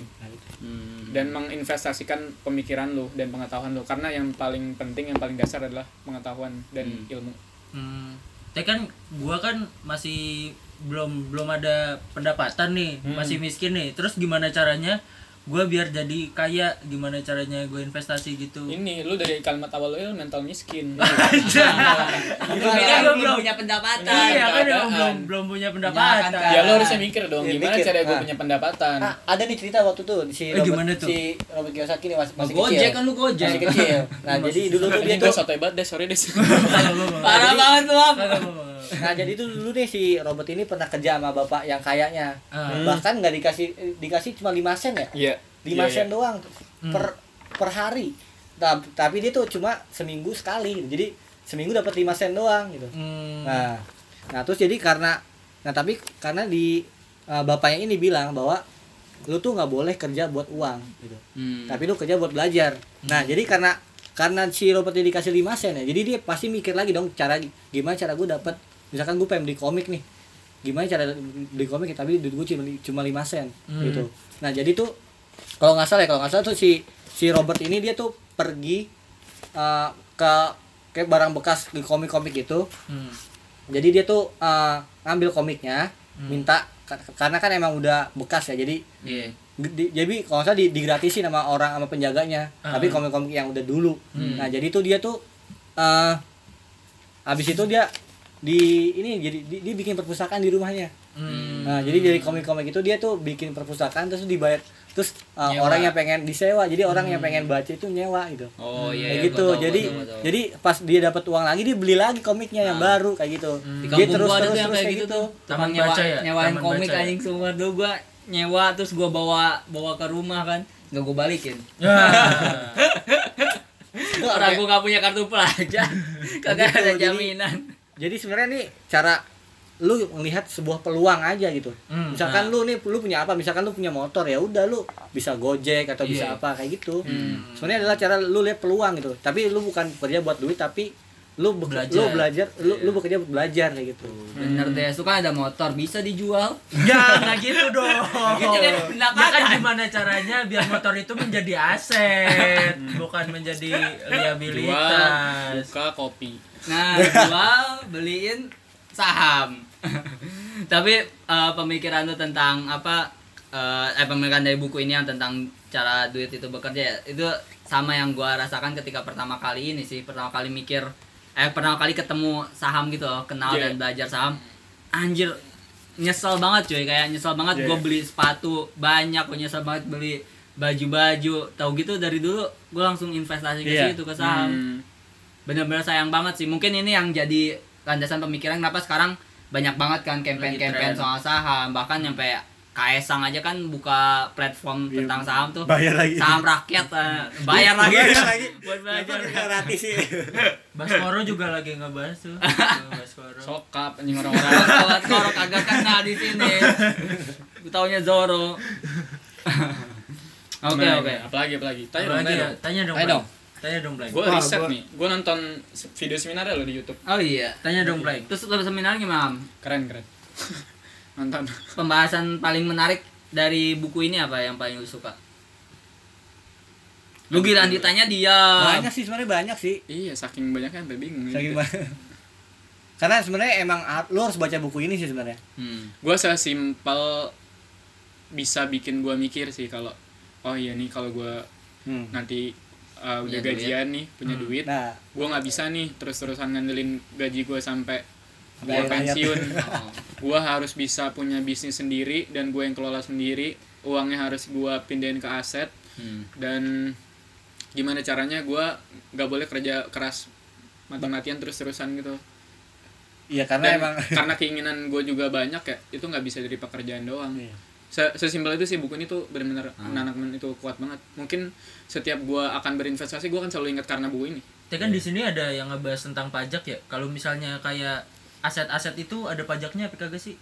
[SPEAKER 3] Hmm.
[SPEAKER 5] dan menginvestasikan pemikiran lo dan pengetahuan lo karena yang paling penting yang paling dasar adalah pengetahuan dan ilmu
[SPEAKER 4] Hmm. Tapi kan gua kan masih belum belum ada pendapatan nih,
[SPEAKER 3] Hmm.
[SPEAKER 4] masih miskin nih. Terus gimana caranya gua biar jadi kaya? Gimana caranya gue investasi gitu?
[SPEAKER 5] ini lo dari kalimat awal lo mental miskin
[SPEAKER 3] [laughs]
[SPEAKER 1] Tapi kan lu belum punya pendapatan.
[SPEAKER 4] Iya kan
[SPEAKER 5] keadaan.
[SPEAKER 4] belum belum punya
[SPEAKER 1] Iya, kan,
[SPEAKER 4] pendapatan.
[SPEAKER 5] ya lo harusnya mikir dong
[SPEAKER 3] Iya,
[SPEAKER 5] gimana
[SPEAKER 3] mikir.
[SPEAKER 5] cara gue
[SPEAKER 3] Nah.
[SPEAKER 5] punya pendapatan
[SPEAKER 3] nah, ada nih cerita waktu tuh si
[SPEAKER 4] Eh, gimana
[SPEAKER 3] Robert,
[SPEAKER 4] tuh?
[SPEAKER 3] si Robert Kiyosaki nih mas- masih
[SPEAKER 1] Gojek
[SPEAKER 3] kecil
[SPEAKER 1] kan lu gojek.
[SPEAKER 3] masih kecil nah jadi dulu tuh dia
[SPEAKER 5] Ini gue
[SPEAKER 3] tuh
[SPEAKER 5] sotoy banget deh, sorry
[SPEAKER 3] [laughs]
[SPEAKER 5] deh
[SPEAKER 1] Parah banget lu. Am.
[SPEAKER 3] nah jadi tuh dulu nih si Robert ini pernah kerja sama bapak yang kayaknya
[SPEAKER 4] Ah.
[SPEAKER 3] bahkan nggak dikasih eh, dikasih cuma 5 sen ya
[SPEAKER 5] Iya Hmm.
[SPEAKER 3] 5 sen doang per per hari. Nah, tapi dia tuh cuma seminggu sekali. gitu. Jadi seminggu dapat 5 sen doang gitu.
[SPEAKER 4] Hmm.
[SPEAKER 3] Nah, nah terus jadi karena nah tapi karena di eh, bapaknya ini bilang bahwa lu tuh nggak boleh kerja buat uang gitu.
[SPEAKER 5] Hmm.
[SPEAKER 3] Tapi lu kerja buat belajar. Nah, jadi karena karena si Robert ini dikasih 5 sen ya. Jadi dia pasti mikir lagi dong cara gimana cara gue dapat misalkan gue pengen beli komik nih. Gimana cara beli komik ya, tapi duit gue cuma cuma 5 sen gitu. Nah, jadi tuh kalau nggak salah ya, kalau nggak salah tuh si si Robert ini dia tuh pergi eh, ke kayak barang bekas di komik-komik gitu
[SPEAKER 4] Hmm.
[SPEAKER 3] jadi dia tuh eh, ngambil komiknya minta ka- karena kan emang udah bekas ya jadi
[SPEAKER 1] Iya.
[SPEAKER 3] di- jadi kalau nggak salah di- digratisin sama orang sama penjaganya
[SPEAKER 1] Ah.
[SPEAKER 3] tapi komik-komik yang udah dulu
[SPEAKER 1] Hmm.
[SPEAKER 3] nah jadi tuh dia tuh eh habis itu dia di ini jadi di- dia bikin perpustakaan di rumahnya
[SPEAKER 4] Hmm.
[SPEAKER 3] Nah, jadi dari komik-komik itu dia tuh bikin perpustakaan terus dibayar terus
[SPEAKER 1] Nyewa.
[SPEAKER 3] uh,
[SPEAKER 1] Hmm.
[SPEAKER 3] orang yang pengen disewa. Jadi orang yang pengen baca itu nyewa gitu.
[SPEAKER 1] Oh iya,
[SPEAKER 3] kayak
[SPEAKER 1] iya,
[SPEAKER 3] gitu.
[SPEAKER 1] gua tahu,
[SPEAKER 3] jadi
[SPEAKER 1] gua tahu, gua tahu.
[SPEAKER 3] jadi pas dia dapat uang lagi dia beli lagi komiknya yang baru kayak gitu.
[SPEAKER 1] Ah. Hmm. di
[SPEAKER 3] Dia
[SPEAKER 1] kampung gua ada tuh yang kayak gitu, tuh.
[SPEAKER 4] Taman
[SPEAKER 1] Tukang nyewa,
[SPEAKER 4] baca ya?
[SPEAKER 1] nyewain
[SPEAKER 4] Taman
[SPEAKER 1] komik
[SPEAKER 4] baca ya?
[SPEAKER 1] anjing semua dulu gua nyewa terus gua bawa bawa ke rumah kan. Enggak gua balikin.
[SPEAKER 4] Ya.
[SPEAKER 1] [laughs] Orang gua nggak punya kartu pelajar. Kagak
[SPEAKER 3] Gitu,
[SPEAKER 1] ada
[SPEAKER 3] jadi-
[SPEAKER 1] jaminan.
[SPEAKER 3] Jadi sebenarnya nih cara lu melihat sebuah peluang aja gitu.
[SPEAKER 4] Hmm,
[SPEAKER 3] misalkan lu nih lu punya apa? Misalkan lu punya motor ya udah lu bisa Gojek atau bisa
[SPEAKER 4] Iya. Hmm.
[SPEAKER 3] apa kayak gitu. Sebenarnya adalah cara lu lihat peluang gitu. Tapi lu bukan kerja buat duit tapi lu be-
[SPEAKER 4] Belajar. Iya.
[SPEAKER 3] lu belajar lu, lu bekerja buat belajar kayak gitu.
[SPEAKER 1] Bener deh, suka ada motor bisa dijual.
[SPEAKER 4] Ya, nggak gitu dong.
[SPEAKER 1] Gitu kan,
[SPEAKER 4] Ya kan
[SPEAKER 1] pendapatan.
[SPEAKER 4] gimana caranya biar motor itu menjadi aset,
[SPEAKER 3] Hmm.
[SPEAKER 4] bukan menjadi
[SPEAKER 5] Jual,
[SPEAKER 4] liabilitas.
[SPEAKER 5] buka kopi.
[SPEAKER 1] Nah, jual, beliin saham. [laughs] Tapi eh, pemikiran lu tentang apa eh, eh pemikiran dari buku ini yang tentang cara duit itu bekerja ya, itu sama yang gua rasakan ketika pertama kali ini sih, pertama kali mikir eh pertama kali ketemu saham gitu loh, kenal dan
[SPEAKER 5] Iya.
[SPEAKER 1] belajar saham. Anjir, nyesel banget cuy, kayak nyesel banget
[SPEAKER 5] Iya.
[SPEAKER 1] gua beli sepatu banyak, gua nyesel banget beli baju-baju. Tahu gitu dari dulu gua langsung investasi ke
[SPEAKER 3] Iya.
[SPEAKER 1] situ ke saham
[SPEAKER 5] Hmm.
[SPEAKER 1] bener-bener sayang banget sih mungkin ini yang jadi landasan pemikiran kenapa sekarang banyak banget kan campaign-campaign
[SPEAKER 4] Lagi tren.
[SPEAKER 1] soal saham bahkan nyampe Kaesang aja kan buka platform
[SPEAKER 4] Iya,
[SPEAKER 1] tentang saham tuh
[SPEAKER 3] Bayar lagi.
[SPEAKER 1] saham rakyat eh, bayar lagi
[SPEAKER 3] Bayar lagi.
[SPEAKER 1] buat
[SPEAKER 4] Iya,
[SPEAKER 1] belajar
[SPEAKER 3] [laughs] Gratis
[SPEAKER 4] [laughs]
[SPEAKER 3] sih.
[SPEAKER 4] Baskoro juga lagi ngebahas
[SPEAKER 3] [laughs]
[SPEAKER 4] tuh. Tuh, Baskoro.
[SPEAKER 5] Sokap anjing orang-orang.
[SPEAKER 1] Sobat Zorro kagak kena di sini Gua taunya Zoro [laughs] [laughs] oke
[SPEAKER 5] Gimana,
[SPEAKER 1] oke
[SPEAKER 4] ya.
[SPEAKER 5] gimana? Nah, Apalagi apalagi. Tanya
[SPEAKER 4] Apa
[SPEAKER 5] dong,
[SPEAKER 4] lagi
[SPEAKER 5] tanya
[SPEAKER 4] ya? Tanya
[SPEAKER 5] dong.
[SPEAKER 4] dong.
[SPEAKER 1] Tanya
[SPEAKER 4] Blay.
[SPEAKER 1] dong.
[SPEAKER 4] Tanya dong, Blay.
[SPEAKER 5] Gue
[SPEAKER 3] Wah,
[SPEAKER 5] riset
[SPEAKER 3] gua-
[SPEAKER 5] nih. Gue nonton se- video seminar lo di YouTube.
[SPEAKER 1] oh iya
[SPEAKER 4] Tanya dong, Blay.
[SPEAKER 1] terus lu seminar gimana Am?
[SPEAKER 5] Keren keren. [laughs] Nonton.
[SPEAKER 1] pembahasan paling menarik dari buku ini apa yang paling lu suka lu giliran ditanya dia
[SPEAKER 3] Banyak sih sebenarnya banyak sih.
[SPEAKER 5] Iya, saking banyaknya sampai bingung.
[SPEAKER 4] Iya.
[SPEAKER 3] Saking banyak. [laughs] Karena sebenarnya emang a- lu harus baca buku ini sih sebenarnya.
[SPEAKER 1] Hmm.
[SPEAKER 5] Gue sesimpel bisa bikin gue mikir sih kalau oh iya nih kalau gue
[SPEAKER 3] Hmm.
[SPEAKER 5] nanti uh,
[SPEAKER 1] Punya
[SPEAKER 5] udah
[SPEAKER 1] duit. Hmm.
[SPEAKER 5] gajian nih punya duit,
[SPEAKER 3] Nah,
[SPEAKER 5] gue nggak bisa nih terus-terusan ngandelin gaji gue sampai gue
[SPEAKER 3] Bayar rakyat. [laughs]
[SPEAKER 5] pensiun.
[SPEAKER 1] Oh.
[SPEAKER 5] gue harus bisa punya bisnis sendiri dan gue yang kelola sendiri uangnya harus gue pindahin ke aset
[SPEAKER 1] Hmm.
[SPEAKER 5] dan gimana caranya gue nggak boleh kerja keras mati-matian terus-terusan gitu
[SPEAKER 3] iya karena
[SPEAKER 5] dan
[SPEAKER 4] [laughs]
[SPEAKER 3] emang [laughs]
[SPEAKER 5] karena keinginan gue juga banyak ya itu nggak bisa dari pekerjaan doang
[SPEAKER 3] Iya. Ah.
[SPEAKER 5] Se- sesimpel itu sih buku ini tuh benar-benar menanamkan itu kuat banget mungkin setiap gue akan berinvestasi gue akan selalu ingat karena buku ini
[SPEAKER 4] Tapi kan di
[SPEAKER 3] Iya.
[SPEAKER 4] sini ada yang ngebahas tentang pajak ya. Kalau misalnya kayak aset-aset itu ada pajaknya apa kagak sih?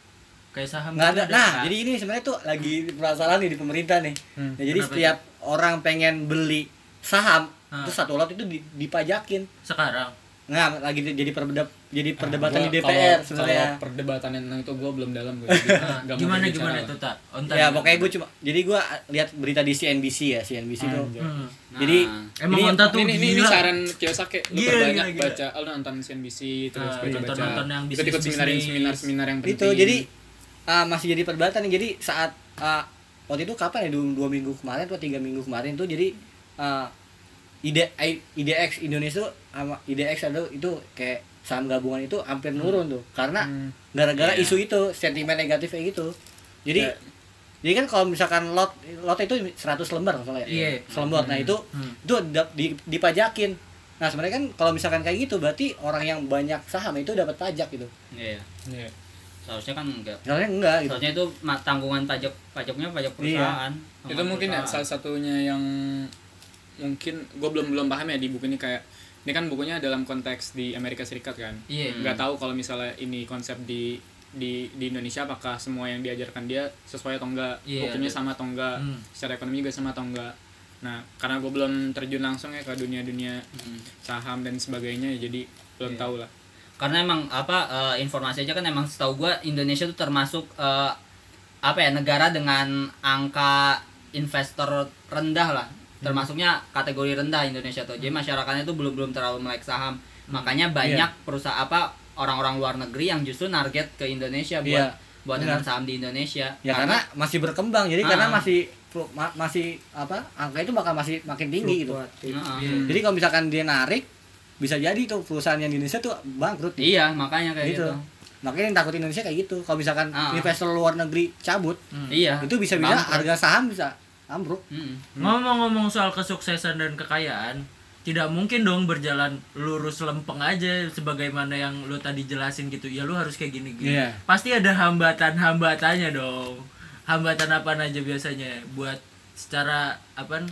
[SPEAKER 4] Kayak saham
[SPEAKER 3] nggak
[SPEAKER 4] gitu
[SPEAKER 3] ada. Nah, jadi ini sebenarnya tuh lagi permasalahan nih di pemerintah nih. Ya, jadi
[SPEAKER 4] kenapa
[SPEAKER 3] setiap orang pengen beli saham,
[SPEAKER 4] Ah.
[SPEAKER 3] terus satu lot itu di- dipajakin.
[SPEAKER 4] sekarang.
[SPEAKER 3] Nah, lagi di- jadi perdeb jadi perdebatan di
[SPEAKER 5] Hmm, Gua
[SPEAKER 3] DPR
[SPEAKER 5] kalau-
[SPEAKER 3] sebenarnya.
[SPEAKER 5] kalau perdebatan yang tentang itu gue belum dalam gue [laughs]
[SPEAKER 4] Nah, gimana gimana tuh, Tak? Oh, On time,
[SPEAKER 3] Ya,
[SPEAKER 4] on
[SPEAKER 3] pokoknya
[SPEAKER 4] time.
[SPEAKER 3] gue cuma jadi gue lihat berita di CNBC ya, CNBC tuh.
[SPEAKER 4] Hmm.
[SPEAKER 5] Nah,
[SPEAKER 3] Jadi
[SPEAKER 4] Emang
[SPEAKER 3] Ini-
[SPEAKER 4] onta tuh
[SPEAKER 5] ini, ini, ini
[SPEAKER 4] gila. Iya,
[SPEAKER 5] saran Kiyosaki lu
[SPEAKER 4] Gila,
[SPEAKER 5] perbanyak
[SPEAKER 4] gila, gila.
[SPEAKER 5] baca oh, lu nonton CNBC terus
[SPEAKER 4] Ah,
[SPEAKER 5] baca baca
[SPEAKER 4] nonton-nonton yang
[SPEAKER 5] ikut ikut
[SPEAKER 4] bisnis-bisnis.
[SPEAKER 5] seminar seminar seminar yang penting
[SPEAKER 3] itu Gitu. jadi ah, masih jadi perdebatan nih. jadi saat ah, waktu itu kapan ya dua, dua minggu kemarin atau tiga minggu kemarin tuh jadi ah, ide I- IDX Indonesia tuh sama IDX ada itu kayak saham gabungan itu hampir nurun tuh karena
[SPEAKER 5] Hmm.
[SPEAKER 3] gara-gara
[SPEAKER 1] Iya.
[SPEAKER 3] isu itu sentimen negatif kayak gitu jadi
[SPEAKER 5] Ya.
[SPEAKER 3] jadi kan kalau misalkan lot lot itu 100 lembar misalnya
[SPEAKER 4] Iya.
[SPEAKER 3] selembar ya? nah itu
[SPEAKER 4] Hmm.
[SPEAKER 3] itu dap- di- dipajakin nah sebenarnya kan kalau misalkan kayak gitu berarti orang yang banyak saham itu dapat pajak gitu
[SPEAKER 1] Iya.
[SPEAKER 5] Iya.
[SPEAKER 1] Seharusnya kan enggak.
[SPEAKER 3] misalnya enggak gitu
[SPEAKER 1] Seharusnya itu ma- tanggungan pajak pajaknya pajak perusahaan. Sama
[SPEAKER 5] Iya. itu mungkin ya
[SPEAKER 1] perusahaan.
[SPEAKER 5] salah satunya yang mungkin gue belum belum paham ya di buku ini kayak ini kan bukunya dalam konteks di Amerika Serikat kan
[SPEAKER 4] Iya.
[SPEAKER 5] nggak tahu kalau misalnya ini konsep di di di Indonesia apakah semua yang diajarkan dia sesuai atau enggak
[SPEAKER 4] Iya,
[SPEAKER 5] hukumnya
[SPEAKER 4] ada.
[SPEAKER 5] sama atau enggak
[SPEAKER 4] Hmm.
[SPEAKER 5] secara ekonomi juga sama atau enggak nah karena gue belum terjun langsung ya ke dunia dunia
[SPEAKER 4] Hmm.
[SPEAKER 5] saham dan sebagainya ya jadi
[SPEAKER 4] Iya.
[SPEAKER 5] belum tahu lah
[SPEAKER 1] Karena emang apa eh, informasi aja kan emang setahu gua Indonesia tuh termasuk eh, apa ya negara dengan angka investor rendah lah.
[SPEAKER 3] Hmm.
[SPEAKER 1] Termasuknya kategori rendah Indonesia tuh. Jadi masyarakatnya tuh belum belum terlalu melek saham.
[SPEAKER 3] Hmm. Iya.
[SPEAKER 1] Makanya banyak perusahaan apa orang-orang luar negeri yang justru target ke Indonesia buat
[SPEAKER 3] Iya.
[SPEAKER 1] buat dengan
[SPEAKER 3] Benar.
[SPEAKER 1] saham di Indonesia.
[SPEAKER 3] ya karena, masih berkembang jadi
[SPEAKER 1] Ah.
[SPEAKER 3] karena masih flu- ma- masih apa angka itu bakal masih makin tinggi gitu
[SPEAKER 4] Iya.
[SPEAKER 1] Heeh.
[SPEAKER 3] jadi kalau misalkan dia narik bisa jadi tuh perusahaan yang di Indonesia tuh bangkrut
[SPEAKER 1] Iya, makanya kayak
[SPEAKER 3] Gitu.
[SPEAKER 1] gitu.
[SPEAKER 3] makanya yang takut Indonesia kayak gitu kalau misalkan
[SPEAKER 1] Ah.
[SPEAKER 3] investor luar negeri cabut
[SPEAKER 1] Iya.
[SPEAKER 3] Hmm.
[SPEAKER 1] Hmm.
[SPEAKER 3] itu bisa bisa
[SPEAKER 1] Bangkrut.
[SPEAKER 3] harga saham bisa ambruk
[SPEAKER 1] Mm-mm.
[SPEAKER 4] Hmm. Ngomong-ngomong soal kesuksesan dan kekayaan, tidak mungkin dong berjalan lurus lempeng aja sebagaimana yang lu tadi jelasin gitu. Ya lu harus kayak gini-gini.
[SPEAKER 3] Iya.
[SPEAKER 4] Pasti ada hambatan-hambatannya dong. Hambatan apa aja biasanya buat secara apa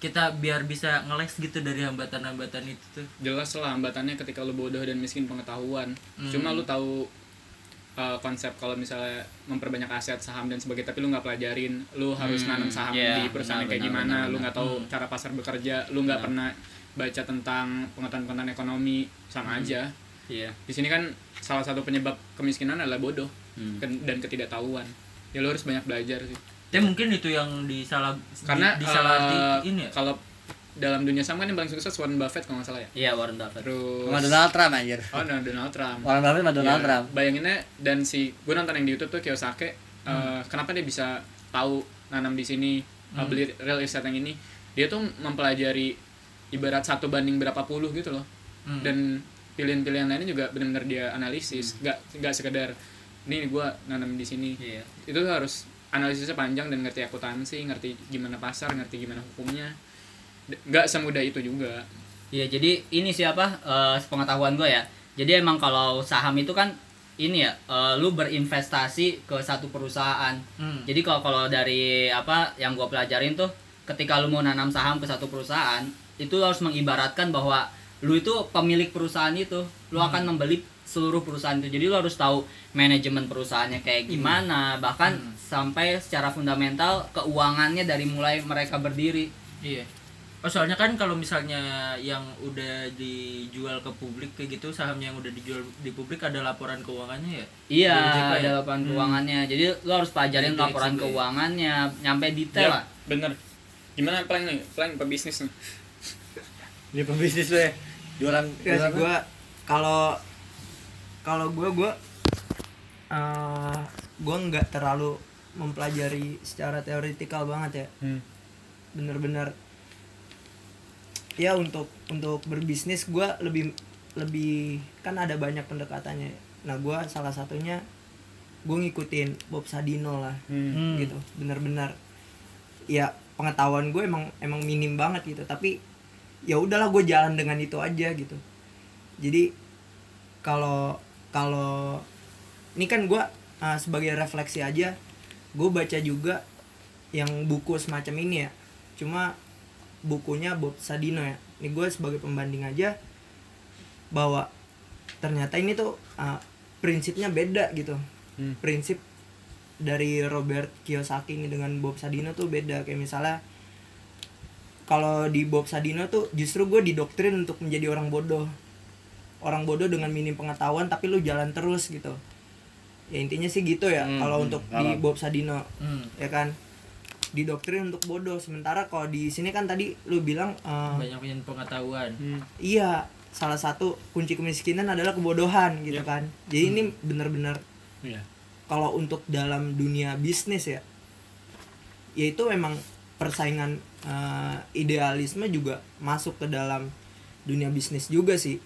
[SPEAKER 4] kita biar bisa ngeles gitu dari hambatan-hambatan itu tuh.
[SPEAKER 5] jelas lah hambatannya ketika lu bodoh dan miskin pengetahuan
[SPEAKER 1] Hmm.
[SPEAKER 5] cuma lu tahu uh, konsep kalau misalnya memperbanyak aset saham dan sebagainya tapi lu nggak pelajarin lu harus nanam saham
[SPEAKER 1] iya,
[SPEAKER 5] di perusahaan
[SPEAKER 1] benar,
[SPEAKER 5] kayak
[SPEAKER 1] benar,
[SPEAKER 5] gimana
[SPEAKER 1] benar, Hmm.
[SPEAKER 5] lu nggak tahu cara pasar bekerja lu nggak pernah baca tentang pengetahuan-pengetahuan ekonomi sama aja
[SPEAKER 1] Iya.
[SPEAKER 5] di sini kan salah satu penyebab kemiskinan adalah bodoh
[SPEAKER 3] Hmm.
[SPEAKER 5] ken- dan ketidaktahuan ya lu harus banyak belajar sih
[SPEAKER 4] Tapi Ya, mungkin itu yang disalah
[SPEAKER 5] karena
[SPEAKER 4] di, disalah
[SPEAKER 1] eh,
[SPEAKER 5] uh,
[SPEAKER 4] ini ya.
[SPEAKER 5] kalau dalam dunia saham kan yang paling sukses Warren Buffett kalau nggak salah ya
[SPEAKER 1] Iya, Warren Buffett.
[SPEAKER 5] terus
[SPEAKER 3] sama Donald Trump anjir
[SPEAKER 5] oh no, Donald Trump
[SPEAKER 3] orang Buffett sama Donald
[SPEAKER 5] Ya,
[SPEAKER 3] Trump
[SPEAKER 5] Bayanginnya dan si gue nonton yang di YouTube tuh Kiyosaki eh,
[SPEAKER 3] Hmm.
[SPEAKER 5] kenapa dia bisa tahu nanam di sini, eh, beli real estate yang ini. Dia tuh mempelajari ibarat satu banding berapa puluh gitu loh.
[SPEAKER 3] Hmm.
[SPEAKER 5] Dan pilihan-pilihan lainnya juga benar-benar dia analisis,
[SPEAKER 3] Hmm.
[SPEAKER 5] nggak nggak sekedar ini gue nanam di sini.
[SPEAKER 1] Iya.
[SPEAKER 5] Itu tuh harus analisisnya panjang dan ngerti akuntansi, ngerti gimana pasar, ngerti gimana hukumnya. D- Nggak semudah itu juga.
[SPEAKER 1] Iya, jadi ini siapa? Eh sepengetahuan gue ya. Jadi emang kalau saham itu kan ini ya, eh, lu berinvestasi ke satu perusahaan.
[SPEAKER 4] Hmm.
[SPEAKER 1] Jadi kalau kalau dari apa yang gue pelajarin tuh, ketika lu mau nanam saham ke satu perusahaan, itu lu harus mengibaratkan bahwa lu itu pemilik perusahaan itu, lu akan membeli seluruh perusahaan itu. Jadi lu harus tahu manajemen perusahaannya kayak gimana, bahkan sampai secara fundamental keuangannya dari mulai mereka berdiri.
[SPEAKER 4] Iya. Oh, soalnya kan kalau misalnya yang udah dijual ke publik kayak gitu, saham yang udah dijual di publik ada laporan keuangannya ya?
[SPEAKER 1] Iya,
[SPEAKER 4] Dari OJK ya?
[SPEAKER 1] ada laporan keuangannya. Jadi lo harus pelajarin
[SPEAKER 4] Jadi
[SPEAKER 1] laporan
[SPEAKER 4] DXB.
[SPEAKER 1] keuangannya, nyampe detail
[SPEAKER 5] Ya,
[SPEAKER 1] lah.
[SPEAKER 5] bener. Gimana paling nih, paling pebisnis nih?
[SPEAKER 3] dia pebisnis lu ya jualan
[SPEAKER 2] Ya sih
[SPEAKER 3] jualan
[SPEAKER 2] gue kalau kalau gue gue eh gue nggak terlalu mempelajari secara teoritikal banget ya. Bener-bener ya untuk untuk berbisnis gue lebih lebih kan ada banyak pendekatannya. Nah gue salah satunya gue ngikutin Bob Sadino lah gitu bener-bener ya pengetahuan gue emang emang minim banget gitu tapi ya udahlah gue jalan dengan itu aja gitu jadi kalau kalau ini kan gue uh, sebagai refleksi aja gue baca juga yang buku semacam ini ya cuma bukunya Bob Sadino ya ini gue sebagai pembanding aja bahwa ternyata ini tuh uh, prinsipnya beda gitu prinsip dari Robert Kiyosaki ini dengan Bob Sadino tuh beda kayak misalnya kalau di Bob Sadino tuh justru gue didoktrin untuk menjadi orang bodoh orang bodoh dengan minim pengetahuan tapi lu jalan terus gitu ya intinya sih gitu ya kalau untuk di Bob Sadino ya kan didoktrin untuk bodoh sementara kalau di sini kan tadi lu bilang eh,
[SPEAKER 4] Banyak punya pengetahuan. [laughs]
[SPEAKER 2] iya salah satu kunci kemiskinan adalah kebodohan gitu kan jadi ini bener-bener
[SPEAKER 3] Iya.
[SPEAKER 2] kalau untuk dalam dunia bisnis ya yaitu memang persaingan eh, idealisme juga masuk ke dalam dunia bisnis juga sih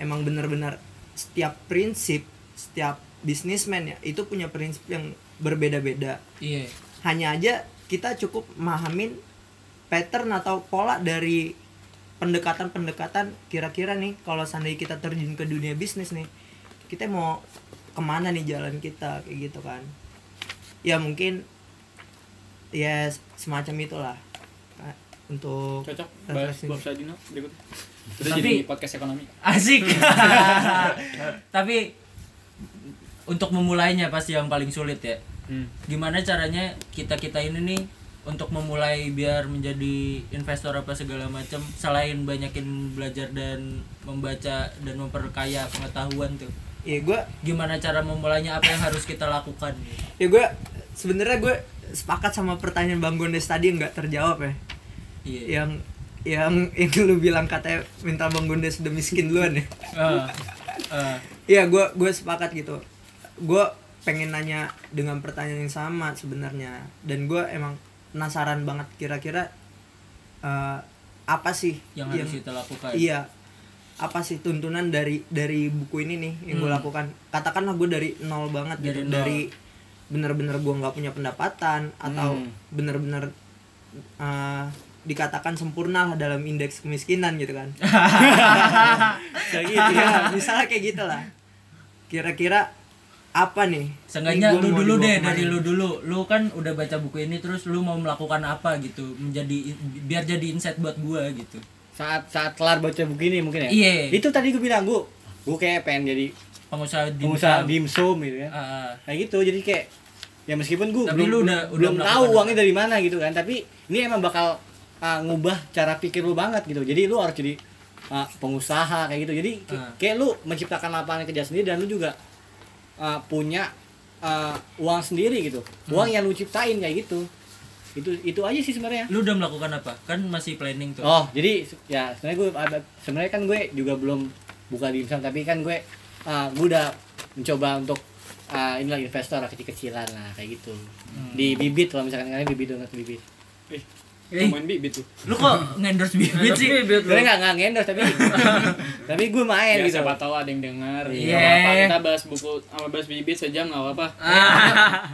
[SPEAKER 2] emang benar-benar setiap prinsip setiap bisnismen ya itu punya prinsip yang berbeda-beda
[SPEAKER 4] Iya.
[SPEAKER 2] hanya aja kita cukup mahamin pattern atau pola dari pendekatan-pendekatan kira-kira nih kalau seandainya kita terjun ke dunia bisnis nih kita mau kemana nih jalan kita kayak gitu kan ya mungkin ya semacam itulah Kak, untuk
[SPEAKER 5] Cocok bahas
[SPEAKER 2] refleksi.
[SPEAKER 5] Bob Sadino berikut. Itu
[SPEAKER 4] Tapi-
[SPEAKER 5] jadi podcast ekonomi.
[SPEAKER 4] Asik. Tapi untuk memulainya pasti yang paling sulit ya. Gimana caranya kita-kita ini nih untuk memulai biar menjadi investor apa segala macam selain banyakin belajar dan membaca dan memperkaya pengetahuan tuh.
[SPEAKER 2] ya gue
[SPEAKER 4] Gimana cara memulainya apa yang harus kita lakukan?
[SPEAKER 2] ya gue sebenarnya gue sepakat sama pertanyaan bang Gondes tadi yang nggak terjawab ya
[SPEAKER 4] Iya.
[SPEAKER 2] yang yang yang lu bilang katanya minta bang Gondes udah miskin duluan ya
[SPEAKER 4] Ah, ah.
[SPEAKER 2] Iya, gue gue sepakat gitu. Gue pengen nanya dengan pertanyaan yang sama sebenarnya. Dan gue emang penasaran banget kira-kira eh, apa sih
[SPEAKER 4] yang harus kita lakukan.
[SPEAKER 2] Iya, apa sih tuntunan dari dari buku ini nih yang gue lakukan katakanlah gue dari nol banget gitu
[SPEAKER 4] Hmm. Dari nol.
[SPEAKER 2] dari bener-bener gue nggak punya pendapatan atau
[SPEAKER 4] Hmm.
[SPEAKER 2] bener-bener eh, dikatakan sempurna lah dalam indeks kemiskinan gitu
[SPEAKER 4] [laughs]
[SPEAKER 2] kan kayak gitu ya misalnya kayak gitu lah kira-kira apa nih
[SPEAKER 4] Seenggaknya
[SPEAKER 2] Ini Iya, gua
[SPEAKER 4] lu
[SPEAKER 2] mau
[SPEAKER 4] dulu
[SPEAKER 2] dibawa
[SPEAKER 4] deh
[SPEAKER 2] kemana
[SPEAKER 4] dari
[SPEAKER 2] nih?
[SPEAKER 4] lu dulu. Lu kan udah baca buku ini terus lu mau melakukan apa gitu. Menjadi biar jadi insight buat gua gitu.
[SPEAKER 3] saat saat kelar baca buku ini mungkin ya
[SPEAKER 4] Iya.
[SPEAKER 3] itu tadi gue bilang gue gue kayak pengen jadi
[SPEAKER 4] Pengusaha di
[SPEAKER 3] pengusaha dimsum gitu kan
[SPEAKER 4] Ah, ah.
[SPEAKER 3] kayak gitu jadi kayak ya meskipun gue
[SPEAKER 4] Tapi lu
[SPEAKER 3] belum
[SPEAKER 4] udah- udah
[SPEAKER 3] belum tahu
[SPEAKER 4] melakukan
[SPEAKER 3] uangnya dari mana gitu kan tapi ini emang bakal uh, ngubah cara pikir lu banget gitu jadi lu harus jadi uh, pengusaha kayak gitu jadi ki-
[SPEAKER 4] Ah.
[SPEAKER 3] kayak lu menciptakan lapangan kerja sendiri dan lu juga uh, punya uh, uang sendiri gitu
[SPEAKER 4] Hmm.
[SPEAKER 3] uang yang lu ciptain kayak gitu itu itu aja sih sebenarnya
[SPEAKER 4] Lu udah melakukan apa? Kan masih planning tuh.
[SPEAKER 3] Oh, jadi se- ya sebenarnya gue ada sebenarnya kan gue juga belum buka dimsum tapi kan gue uh, gue udah mencoba untuk uh, inilah investor lah, kecil-kecilan lah kayak gitu. Di bibit kalau misalkan kalian bibit donat bibit.
[SPEAKER 5] Ih,
[SPEAKER 4] Eh.
[SPEAKER 5] ngomongin bibit tuh.
[SPEAKER 4] Lu
[SPEAKER 2] [laughs]
[SPEAKER 4] kok ngendorse bibit sih?
[SPEAKER 3] Sebenarnya nggak nggak ngendorse tapi tapi gue main
[SPEAKER 5] Ya,
[SPEAKER 3] gitu.
[SPEAKER 5] siapa tahu ada yang dengar.
[SPEAKER 4] Iya.
[SPEAKER 5] Nggak apa-apa, kita bahas buku sama bahas bibit sejam nggak apa-apa.
[SPEAKER 4] Ah.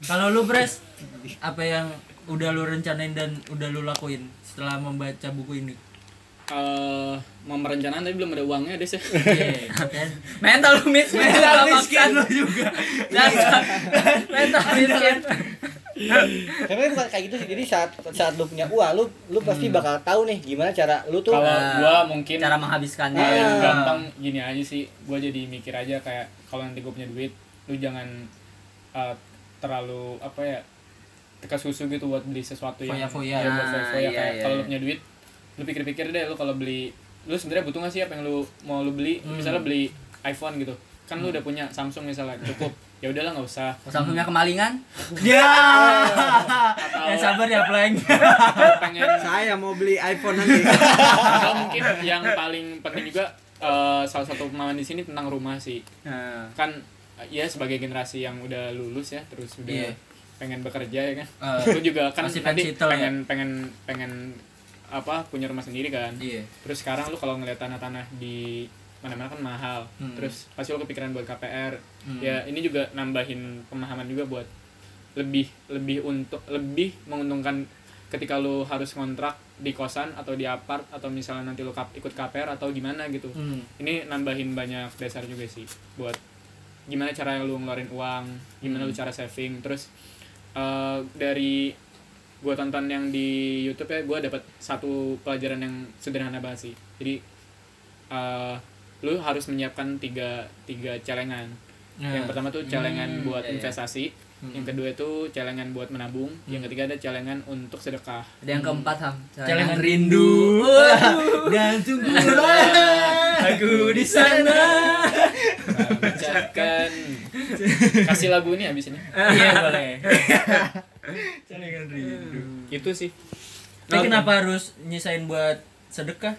[SPEAKER 4] Kalau lu Pres, apa yang udah lu rencanain dan udah lu lakuin setelah membaca buku ini?
[SPEAKER 5] Eh, mau merencanakan tapi belum ada uangnya deh sih.
[SPEAKER 4] Iya, kan?
[SPEAKER 1] mental lu mis mental lu miskin lu juga [laughs] mental miskin
[SPEAKER 3] Sebenarnya bukan kayak gitu sih. Jadi saat saat lu punya uang lu lu pasti bakal tahu nih gimana cara lu tuh
[SPEAKER 5] Kalau
[SPEAKER 1] Nah,
[SPEAKER 5] gua mungkin
[SPEAKER 1] cara menghabiskannya
[SPEAKER 4] Iya.
[SPEAKER 5] paling
[SPEAKER 3] Ah.
[SPEAKER 5] gampang gini aja sih. Gua jadi mikir aja kayak kalau nanti gua punya duit, lu jangan eh, terlalu apa ya teka susu gitu buat beli sesuatu yang
[SPEAKER 4] Foya-foya.
[SPEAKER 5] ya, buat foya-foya.
[SPEAKER 1] Ah, iya,
[SPEAKER 5] kayak
[SPEAKER 1] iya,
[SPEAKER 5] kalau lu
[SPEAKER 1] iya.
[SPEAKER 5] punya duit, lu pikir-pikir deh lu kalau beli lu sebenarnya butuh gak sih apa yang lu mau lu beli?
[SPEAKER 1] Hmm.
[SPEAKER 5] Misalnya beli iPhone gitu. Kan lu udah punya Samsung misalnya,
[SPEAKER 1] [laughs]
[SPEAKER 5] cukup. Ya udahlah nggak usah.
[SPEAKER 1] Samsungnya kemalingan
[SPEAKER 4] Ya.
[SPEAKER 1] Eh,
[SPEAKER 4] ya sabar ya, Pleng.
[SPEAKER 5] Kalau pengen
[SPEAKER 2] saya mau beli iPhone nanti
[SPEAKER 5] atau mungkin yang paling penting juga eh, salah satu pemahaman di sini tentang rumah sih
[SPEAKER 4] Nah,
[SPEAKER 5] kan eh, ya sebagai generasi yang udah lulus ya terus
[SPEAKER 4] Iya.
[SPEAKER 5] udah pengen bekerja ya kan
[SPEAKER 4] Eh,
[SPEAKER 5] Lu juga kan
[SPEAKER 4] masih
[SPEAKER 5] tadi
[SPEAKER 4] pensitel ya.
[SPEAKER 5] pengen pengen pengen apa punya rumah sendiri kan
[SPEAKER 4] Iya.
[SPEAKER 5] terus sekarang lu kalau ngeliat tanah-tanah di mana-mana kan mahal
[SPEAKER 4] Hmm.
[SPEAKER 5] terus pasti lu kepikiran buat KPR
[SPEAKER 4] Hmm.
[SPEAKER 5] ya ini juga nambahin pemahaman juga buat lebih lebih untuk lebih menguntungkan ketika lu harus kontrak di kosan atau di apart atau misalnya nanti lu kap- ikut KPR atau gimana gitu
[SPEAKER 4] Hmm.
[SPEAKER 5] ini nambahin banyak dasar juga sih buat gimana cara lu ngeluarin uang gimana
[SPEAKER 1] Hmm.
[SPEAKER 5] lu cara saving terus eh, dari gue tonton yang di YouTube ya gue dapat satu pelajaran yang sederhana banget sih jadi eh, lu harus menyiapkan tiga tiga celengan
[SPEAKER 4] Ya.
[SPEAKER 5] yang pertama tuh celengan
[SPEAKER 1] Nah. Hmm,
[SPEAKER 5] buat
[SPEAKER 1] iya, iya.
[SPEAKER 5] investasi yang kedua itu celengan buat menabung
[SPEAKER 1] Hmm.
[SPEAKER 5] yang ketiga ada celengan untuk
[SPEAKER 1] [laughs]
[SPEAKER 5] sedekah
[SPEAKER 1] ada yang keempat ham
[SPEAKER 4] Celengan rindu. dan tunggulah [laughs] aku di sana.
[SPEAKER 5] Nah, bacakan kasih lagu ini habis ini
[SPEAKER 4] Iya, boleh.
[SPEAKER 5] itu sih
[SPEAKER 4] Tapi kenapa harus nyisain buat sedekah?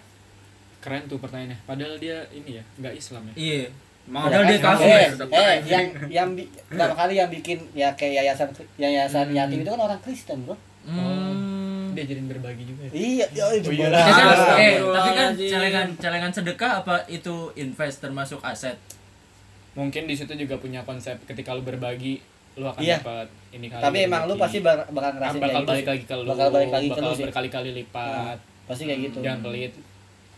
[SPEAKER 5] keren tuh pertanyaannya padahal dia ini ya nggak Islam ya
[SPEAKER 4] Iya.
[SPEAKER 3] Mau
[SPEAKER 4] [laughs] Padahal dia kafir.
[SPEAKER 3] Eh, eh, yang yang bi- pertama kali yang bikin ya kayak yayasan yayasan yatim itu kan orang Kristen, Bro.
[SPEAKER 4] Hmm.
[SPEAKER 5] dia jadiin berbagi juga ya
[SPEAKER 3] Iya, iya, itu bola.
[SPEAKER 5] iya.
[SPEAKER 4] Tapi kan-
[SPEAKER 1] Ah,
[SPEAKER 4] eh,
[SPEAKER 1] betul
[SPEAKER 4] tapi kan
[SPEAKER 1] lagi.
[SPEAKER 4] celengan celengan sedekah apa itu invest termasuk aset?
[SPEAKER 5] mungkin di situ juga punya konsep ketika lu berbagi lu akan
[SPEAKER 3] Iya.
[SPEAKER 5] dapat ini kali
[SPEAKER 3] Tapi emang lu
[SPEAKER 5] rezeki.
[SPEAKER 3] pasti bak- bakal
[SPEAKER 5] Kan
[SPEAKER 3] ngerasain
[SPEAKER 5] bakal
[SPEAKER 3] kayak
[SPEAKER 5] balik
[SPEAKER 3] gitu. sih.
[SPEAKER 5] lagi ke lu
[SPEAKER 3] Bakal balik lagi ke
[SPEAKER 5] bakal
[SPEAKER 3] lu sih.
[SPEAKER 5] berkali-kali lipat
[SPEAKER 3] Pasti kayak gitu.
[SPEAKER 5] jangan pelit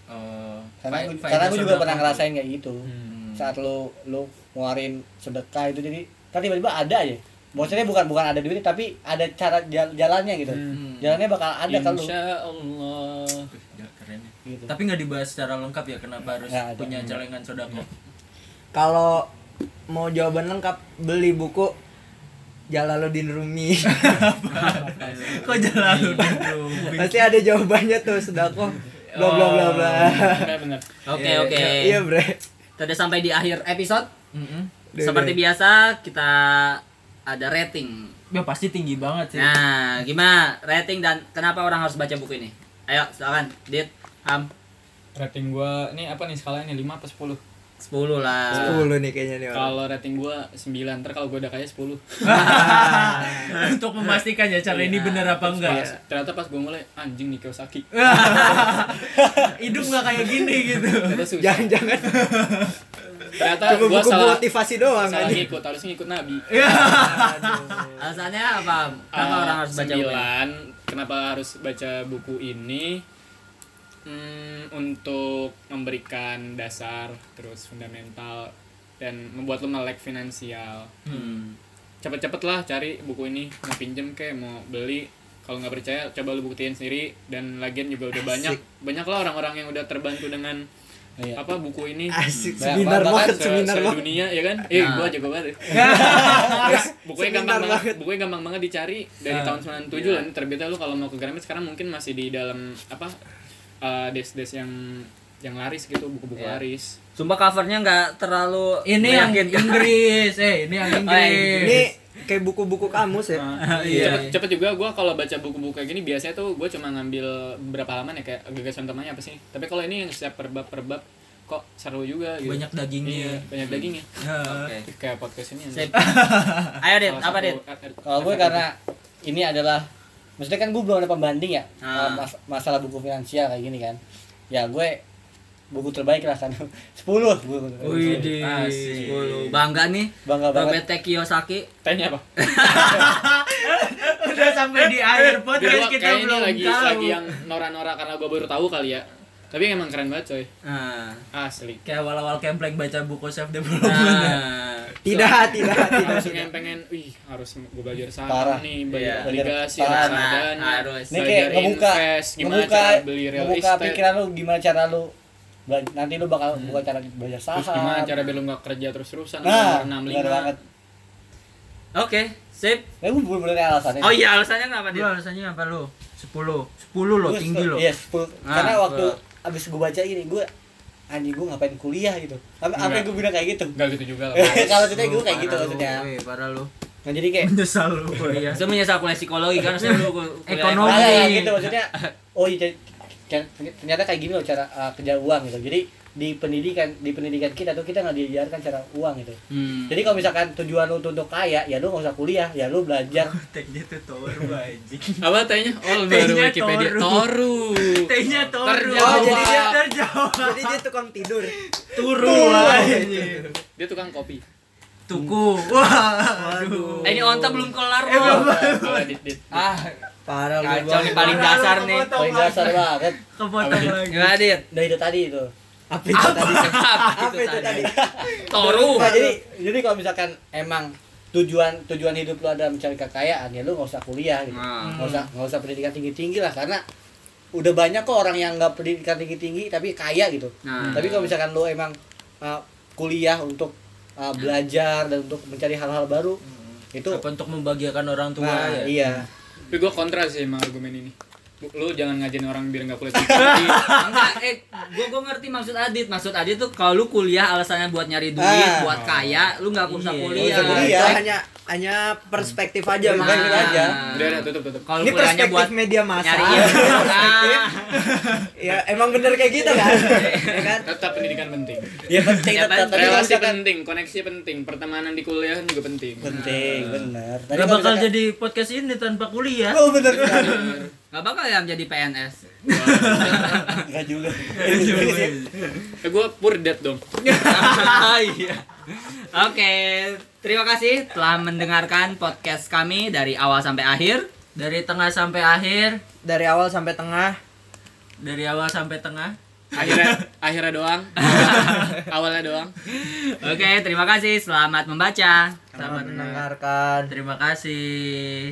[SPEAKER 4] Oh,
[SPEAKER 3] Karena
[SPEAKER 4] fa-
[SPEAKER 3] gua-
[SPEAKER 4] faedah
[SPEAKER 3] karena gue juga
[SPEAKER 4] sedekah.
[SPEAKER 3] pernah ngerasain kayak gitu.
[SPEAKER 5] Hmm.
[SPEAKER 3] Saat lu lu ngeluarin sedekah itu jadi kan tiba-tiba ada aja. Maksudnya bukan bukan ada duit tapi ada cara jal- jalannya gitu.
[SPEAKER 5] Hmm.
[SPEAKER 3] Jalannya bakal ada kan lu.
[SPEAKER 5] Insya Allah
[SPEAKER 4] Ya, keren ya.
[SPEAKER 3] Gitu.
[SPEAKER 4] Tapi nggak dibahas secara lengkap ya kenapa harus
[SPEAKER 3] Nggak ada.
[SPEAKER 4] punya celengan sodako?
[SPEAKER 2] kalau mau jawaban lengkap beli buku Jalaluddin Rumi
[SPEAKER 4] Kok jalan lu dulu?
[SPEAKER 2] pasti ada jawabannya tuh sedako bla bla bla bla
[SPEAKER 5] benar-benar
[SPEAKER 1] oke
[SPEAKER 4] Iya,
[SPEAKER 1] oke
[SPEAKER 2] iya bre
[SPEAKER 1] sudah sampai di akhir episode
[SPEAKER 4] Mm-mm.
[SPEAKER 2] Udah,
[SPEAKER 1] seperti
[SPEAKER 2] udah.
[SPEAKER 1] biasa kita ada rating
[SPEAKER 4] Ya pasti tinggi banget sih.
[SPEAKER 1] nah gimana rating dan kenapa orang harus baca buku ini ayo silakan dit ham
[SPEAKER 5] rating gua ini apa nih skalanya nih 5 apa 10
[SPEAKER 1] 10 lah
[SPEAKER 2] Iya. 10 nih kayaknya nih orang.
[SPEAKER 5] kalau rating gua 9 ntar kalau gua udah kaya 10
[SPEAKER 4] [laughs] untuk memastikan ya cara ini bener apa enggak.
[SPEAKER 5] Pas- ternyata pas gue mulai anjing nih
[SPEAKER 3] [laughs]
[SPEAKER 5] Kiyosaki
[SPEAKER 4] [laughs] Hidup nggak kayak gini gitu.
[SPEAKER 5] ternyata
[SPEAKER 3] Ya,
[SPEAKER 5] susah
[SPEAKER 2] Jangan-jangan
[SPEAKER 5] ternyata
[SPEAKER 2] cuma
[SPEAKER 5] gue
[SPEAKER 2] buku
[SPEAKER 5] salah
[SPEAKER 2] motivasi doang
[SPEAKER 5] salah
[SPEAKER 2] anjing.
[SPEAKER 5] ngikut harusnya ngikut nabi
[SPEAKER 1] Alasannya apa? Kenapa
[SPEAKER 5] Eh,
[SPEAKER 1] orang harus baca buku?
[SPEAKER 5] sembilan, kenapa harus baca buku ini Hmm, untuk memberikan dasar terus fundamental dan membuat lo melek finansial cepet-cepet lah cari buku ini mau pinjem ke mau beli kalau nggak percaya coba lu buktiin sendiri dan lagian juga udah banyak banyak lah orang-orang yang udah terbantu dengan
[SPEAKER 3] Iya.
[SPEAKER 5] apa buku
[SPEAKER 2] [laughs]
[SPEAKER 5] ini eh,
[SPEAKER 2] Asik
[SPEAKER 3] Banyak
[SPEAKER 2] seminar
[SPEAKER 3] banget,
[SPEAKER 2] banget,
[SPEAKER 5] se,
[SPEAKER 2] seminar banget. Nah,
[SPEAKER 5] dunia ya kan eh gua jago
[SPEAKER 2] [laughs]
[SPEAKER 5] banget Terus bukunya
[SPEAKER 2] Seminar
[SPEAKER 5] gampang banget.
[SPEAKER 2] banget. Iya.
[SPEAKER 5] bukunya gampang banget dicari dari tahun 97 lah ini terbitnya lu kalau mau ke Gramet sekarang mungkin masih di dalam apa eh, des-des yang yang laris gitu buku-buku
[SPEAKER 1] Iya.
[SPEAKER 5] laris
[SPEAKER 1] Sumpah covernya nggak terlalu
[SPEAKER 4] Ini yang
[SPEAKER 1] meyakinkan.
[SPEAKER 4] Inggris, eh ini yang
[SPEAKER 2] Ini
[SPEAKER 4] [laughs] Inggris. Iya.
[SPEAKER 2] kayak buku-buku kamus ya.
[SPEAKER 5] Iya. cepet, cepet juga gue kalau baca buku-buku kayak gini biasanya tuh gue cuma ngambil beberapa halaman ya kayak gagasan temanya apa sih tapi kalau ini yang setiap per bab per bab kok seru juga gitu.
[SPEAKER 4] Banyak
[SPEAKER 5] iya,
[SPEAKER 4] dagingnya.
[SPEAKER 5] banyak dagingnya
[SPEAKER 1] Oke.
[SPEAKER 5] kayak podcast ini [laughs]
[SPEAKER 1] Sip.
[SPEAKER 5] anjing.
[SPEAKER 1] Ayo Dit,
[SPEAKER 5] Salah
[SPEAKER 1] apa
[SPEAKER 5] satu
[SPEAKER 1] Dit?
[SPEAKER 5] art- art-
[SPEAKER 3] Kalau gue karena ini adalah maksudnya kan gue belum ada pembanding ya
[SPEAKER 1] Ah.
[SPEAKER 3] mas- masalah buku finansial kayak gini kan. Ya gue buku terbaik lah kan [laughs] 10 buku.
[SPEAKER 4] Wih, di
[SPEAKER 1] Asik. Bangga nih.
[SPEAKER 3] Bangga banget.
[SPEAKER 1] Robert T. Kiyosaki.
[SPEAKER 5] tanya apa
[SPEAKER 4] Udah sampai di akhir
[SPEAKER 5] Dulu
[SPEAKER 4] podcast kita
[SPEAKER 5] kayaknya ini
[SPEAKER 4] belum
[SPEAKER 5] lagi
[SPEAKER 4] tahu.
[SPEAKER 5] lagi yang nora-nora karena gue baru tahu kali ya tapi emang keren banget coy
[SPEAKER 1] Nah.
[SPEAKER 5] asli
[SPEAKER 4] Kayak awal-awal Kemplek baca buku self development. ya.
[SPEAKER 1] Nah.
[SPEAKER 2] Tidak,
[SPEAKER 4] [laughs]
[SPEAKER 2] tidak, tidak.
[SPEAKER 5] langsung yang pengen wih harus gue belajar saham
[SPEAKER 3] Parah.
[SPEAKER 5] nih belajar
[SPEAKER 1] Iya.
[SPEAKER 5] obligasi
[SPEAKER 3] Parah.
[SPEAKER 5] reksadana,
[SPEAKER 1] Nah, harus.
[SPEAKER 3] Ini
[SPEAKER 5] belajar
[SPEAKER 3] kayak ngebuka
[SPEAKER 5] invest, gimana
[SPEAKER 3] ngebuka
[SPEAKER 5] cara beli real
[SPEAKER 3] ngebuka
[SPEAKER 5] estate Hmm.
[SPEAKER 3] pikiran lu gimana cara lu bela- nanti lu bakal buka cara belajar
[SPEAKER 5] terus gimana
[SPEAKER 3] saham.
[SPEAKER 5] cara biar lu nggak kerja terus terusan
[SPEAKER 3] Nah,
[SPEAKER 5] nomor
[SPEAKER 3] benar banget.
[SPEAKER 5] 65
[SPEAKER 1] Oke, sip.
[SPEAKER 3] Nah, gue bener-bener alasannya.
[SPEAKER 1] Oh iya, alasannya kenapa
[SPEAKER 4] Lu
[SPEAKER 1] Dit?
[SPEAKER 4] alasannya apa lu? 10. 10 lo
[SPEAKER 3] Gua
[SPEAKER 4] tinggi
[SPEAKER 3] se-
[SPEAKER 4] lo. [laughs]
[SPEAKER 3] Iya, 10.
[SPEAKER 1] Ah,
[SPEAKER 3] Karena waktu abis gue baca ini gue anjing gue ngapain kuliah gitu. Apa apa
[SPEAKER 5] Enggak.
[SPEAKER 3] gue bilang kayak gitu.
[SPEAKER 5] nggak gitu juga lah
[SPEAKER 3] [laughs] Kalau kita gue kayak
[SPEAKER 4] Parah
[SPEAKER 3] gitu
[SPEAKER 4] lu,
[SPEAKER 3] maksudnya.
[SPEAKER 4] weh, Parah lu.
[SPEAKER 3] Nah, jadi kayak
[SPEAKER 4] Menyesal lu [laughs] kuliah.
[SPEAKER 1] Saya menyesal kuliah psikologi karena saya dulu kul- kuliah
[SPEAKER 4] Ekonomi.
[SPEAKER 3] Nah, ya,
[SPEAKER 4] Anjing.
[SPEAKER 3] gitu maksudnya. Oh iya ter- ternyata kayak gini loh cara uh, kerja uang gitu. Jadi di pendidikan di pendidikan kita tuh kita nggak diajarkan cara uang gitu.
[SPEAKER 1] Hmm.
[SPEAKER 3] Jadi kalau misalkan tujuan lu tuh untuk kaya, ya lu nggak usah kuliah, ya lu belajar.
[SPEAKER 4] Teknya tuh Toru anjing.
[SPEAKER 5] apa tanya oh baru
[SPEAKER 4] T-nya
[SPEAKER 5] Wikipedia
[SPEAKER 4] Toru.
[SPEAKER 5] Toru
[SPEAKER 4] Teknya Toru.
[SPEAKER 5] Terjawab.
[SPEAKER 2] jadi dia-
[SPEAKER 4] terjawab.
[SPEAKER 2] Jadi dia tukang tidur.
[SPEAKER 4] Turu anjing.
[SPEAKER 5] [laughs] dia tukang kopi
[SPEAKER 4] Tuku. Wah. Aduh.
[SPEAKER 1] Eh, ini onta belum kelar
[SPEAKER 4] Eh, belum.
[SPEAKER 1] loh.
[SPEAKER 5] Boleh, Dit, Dit.
[SPEAKER 1] Ah,
[SPEAKER 2] Parah lu.
[SPEAKER 1] kacau
[SPEAKER 2] Bang.
[SPEAKER 1] nih paling dasar nih.
[SPEAKER 3] Paling dasar banget.
[SPEAKER 4] Kepotong lagi.
[SPEAKER 1] Gimana Dit?
[SPEAKER 3] Nah itu tadi itu.
[SPEAKER 2] Apa itu tadi?
[SPEAKER 1] Apa
[SPEAKER 2] Apa itu tadi?
[SPEAKER 1] Toru.
[SPEAKER 3] Nah, jadi jadi kalau misalkan emang tujuan tujuan hidup lu ada mencari kekayaan ya lu nggak usah kuliah gitu
[SPEAKER 1] Nah.
[SPEAKER 2] Hmm.
[SPEAKER 3] nggak usah nggak usah pendidikan tinggi tinggi lah karena udah banyak kok orang yang nggak pendidikan tinggi tinggi tapi kaya gitu
[SPEAKER 1] Nah.
[SPEAKER 4] Hmm.
[SPEAKER 3] tapi kalau misalkan lu emang uh, kuliah untuk uh, belajar dan untuk mencari hal-hal baru itu
[SPEAKER 4] Apa untuk membahagiakan orang tua
[SPEAKER 3] nah,
[SPEAKER 4] Hmm. ya?
[SPEAKER 3] iya
[SPEAKER 5] tapi gue kontra sih sama argumen ini lu jangan ngajarin orang biar nggak kuliah tinggi
[SPEAKER 1] Enggak, eh gua gua ngerti maksud Adit. Maksud Adit tuh kalau lu kuliah alasannya buat nyari duit,
[SPEAKER 3] Ah.
[SPEAKER 1] buat kaya, lu nggak usah
[SPEAKER 4] Iya,
[SPEAKER 1] kuliah. Ah.
[SPEAKER 3] nggak usah kuliah.
[SPEAKER 2] Itu hanya hanya perspektif aja
[SPEAKER 3] Nah.
[SPEAKER 2] Bang.
[SPEAKER 3] Bukan aja.
[SPEAKER 5] udah udah tutup tutup
[SPEAKER 1] Kalau
[SPEAKER 2] Ini
[SPEAKER 1] kuliahnya
[SPEAKER 2] perspektif
[SPEAKER 1] iya. buat
[SPEAKER 2] media massa.
[SPEAKER 1] nyari iya.
[SPEAKER 2] [laughs]
[SPEAKER 1] ilmu.
[SPEAKER 2] Ah.
[SPEAKER 1] Nah,
[SPEAKER 2] ya emang bener kayak gitu kan? ya kan?
[SPEAKER 5] tetap pendidikan penting
[SPEAKER 3] ya penting
[SPEAKER 1] Ya,
[SPEAKER 3] tetap
[SPEAKER 1] Bang.
[SPEAKER 3] tapi kalau
[SPEAKER 5] relasi
[SPEAKER 3] misalkan
[SPEAKER 5] penting koneksi penting pertemanan di kuliah juga penting
[SPEAKER 3] penting benar Tadi
[SPEAKER 4] Gak
[SPEAKER 3] kalau
[SPEAKER 4] bakal
[SPEAKER 3] misalkan-
[SPEAKER 4] jadi podcast ini tanpa kuliah.
[SPEAKER 3] oh benar
[SPEAKER 1] nggak bakal ya jadi PNS.
[SPEAKER 3] nggak juga
[SPEAKER 5] eh gue poor dad dong
[SPEAKER 1] Iya. Oke, terima kasih telah mendengarkan podcast kami dari awal sampai akhir.
[SPEAKER 4] Dari tengah sampai akhir,
[SPEAKER 2] Dari awal sampai tengah
[SPEAKER 4] dari awal sampai tengah.
[SPEAKER 5] akhirnya akhirnya doang awalnya doang
[SPEAKER 1] Oke, terima kasih. Selamat membaca.
[SPEAKER 2] sama mendengarkan.
[SPEAKER 4] Terima kasih.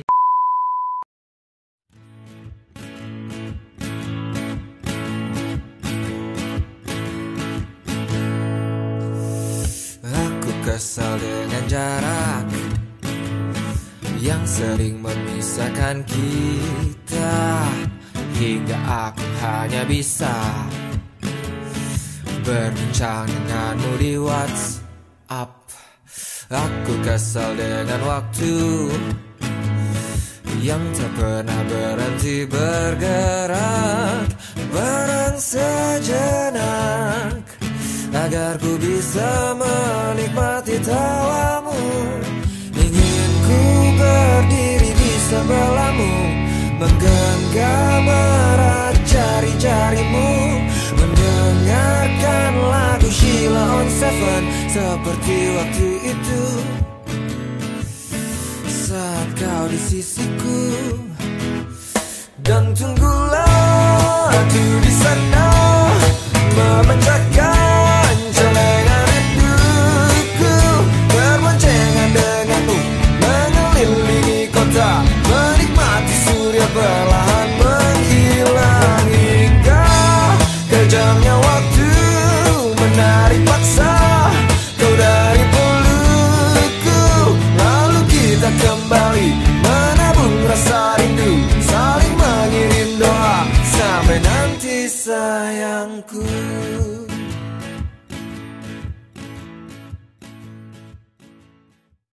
[SPEAKER 6] Aku kesal dengan jarak Yang sering memisahkan kita Hingga aku hanya bisa Berbincang denganmu di WhatsApp Aku kesal dengan waktu Yang tak pernah berhenti bergerak Barang sejenak Agar ku bisa menikmati tawamu Ingin ku berdiri di Seperti waktu itu Saat kau di sisiku Dan tunggulah aku di sana Memecahkan celengan rinduku Berboncengan denganmu Mengelilingi kota Menikmati surya perlahan menghilang Hingga Iya, kejamnya waktu Menarik paksa kau dari pelukku Lalu kita kembali menabung rasa rindu Saling mengirim doa Sampai nanti sayangku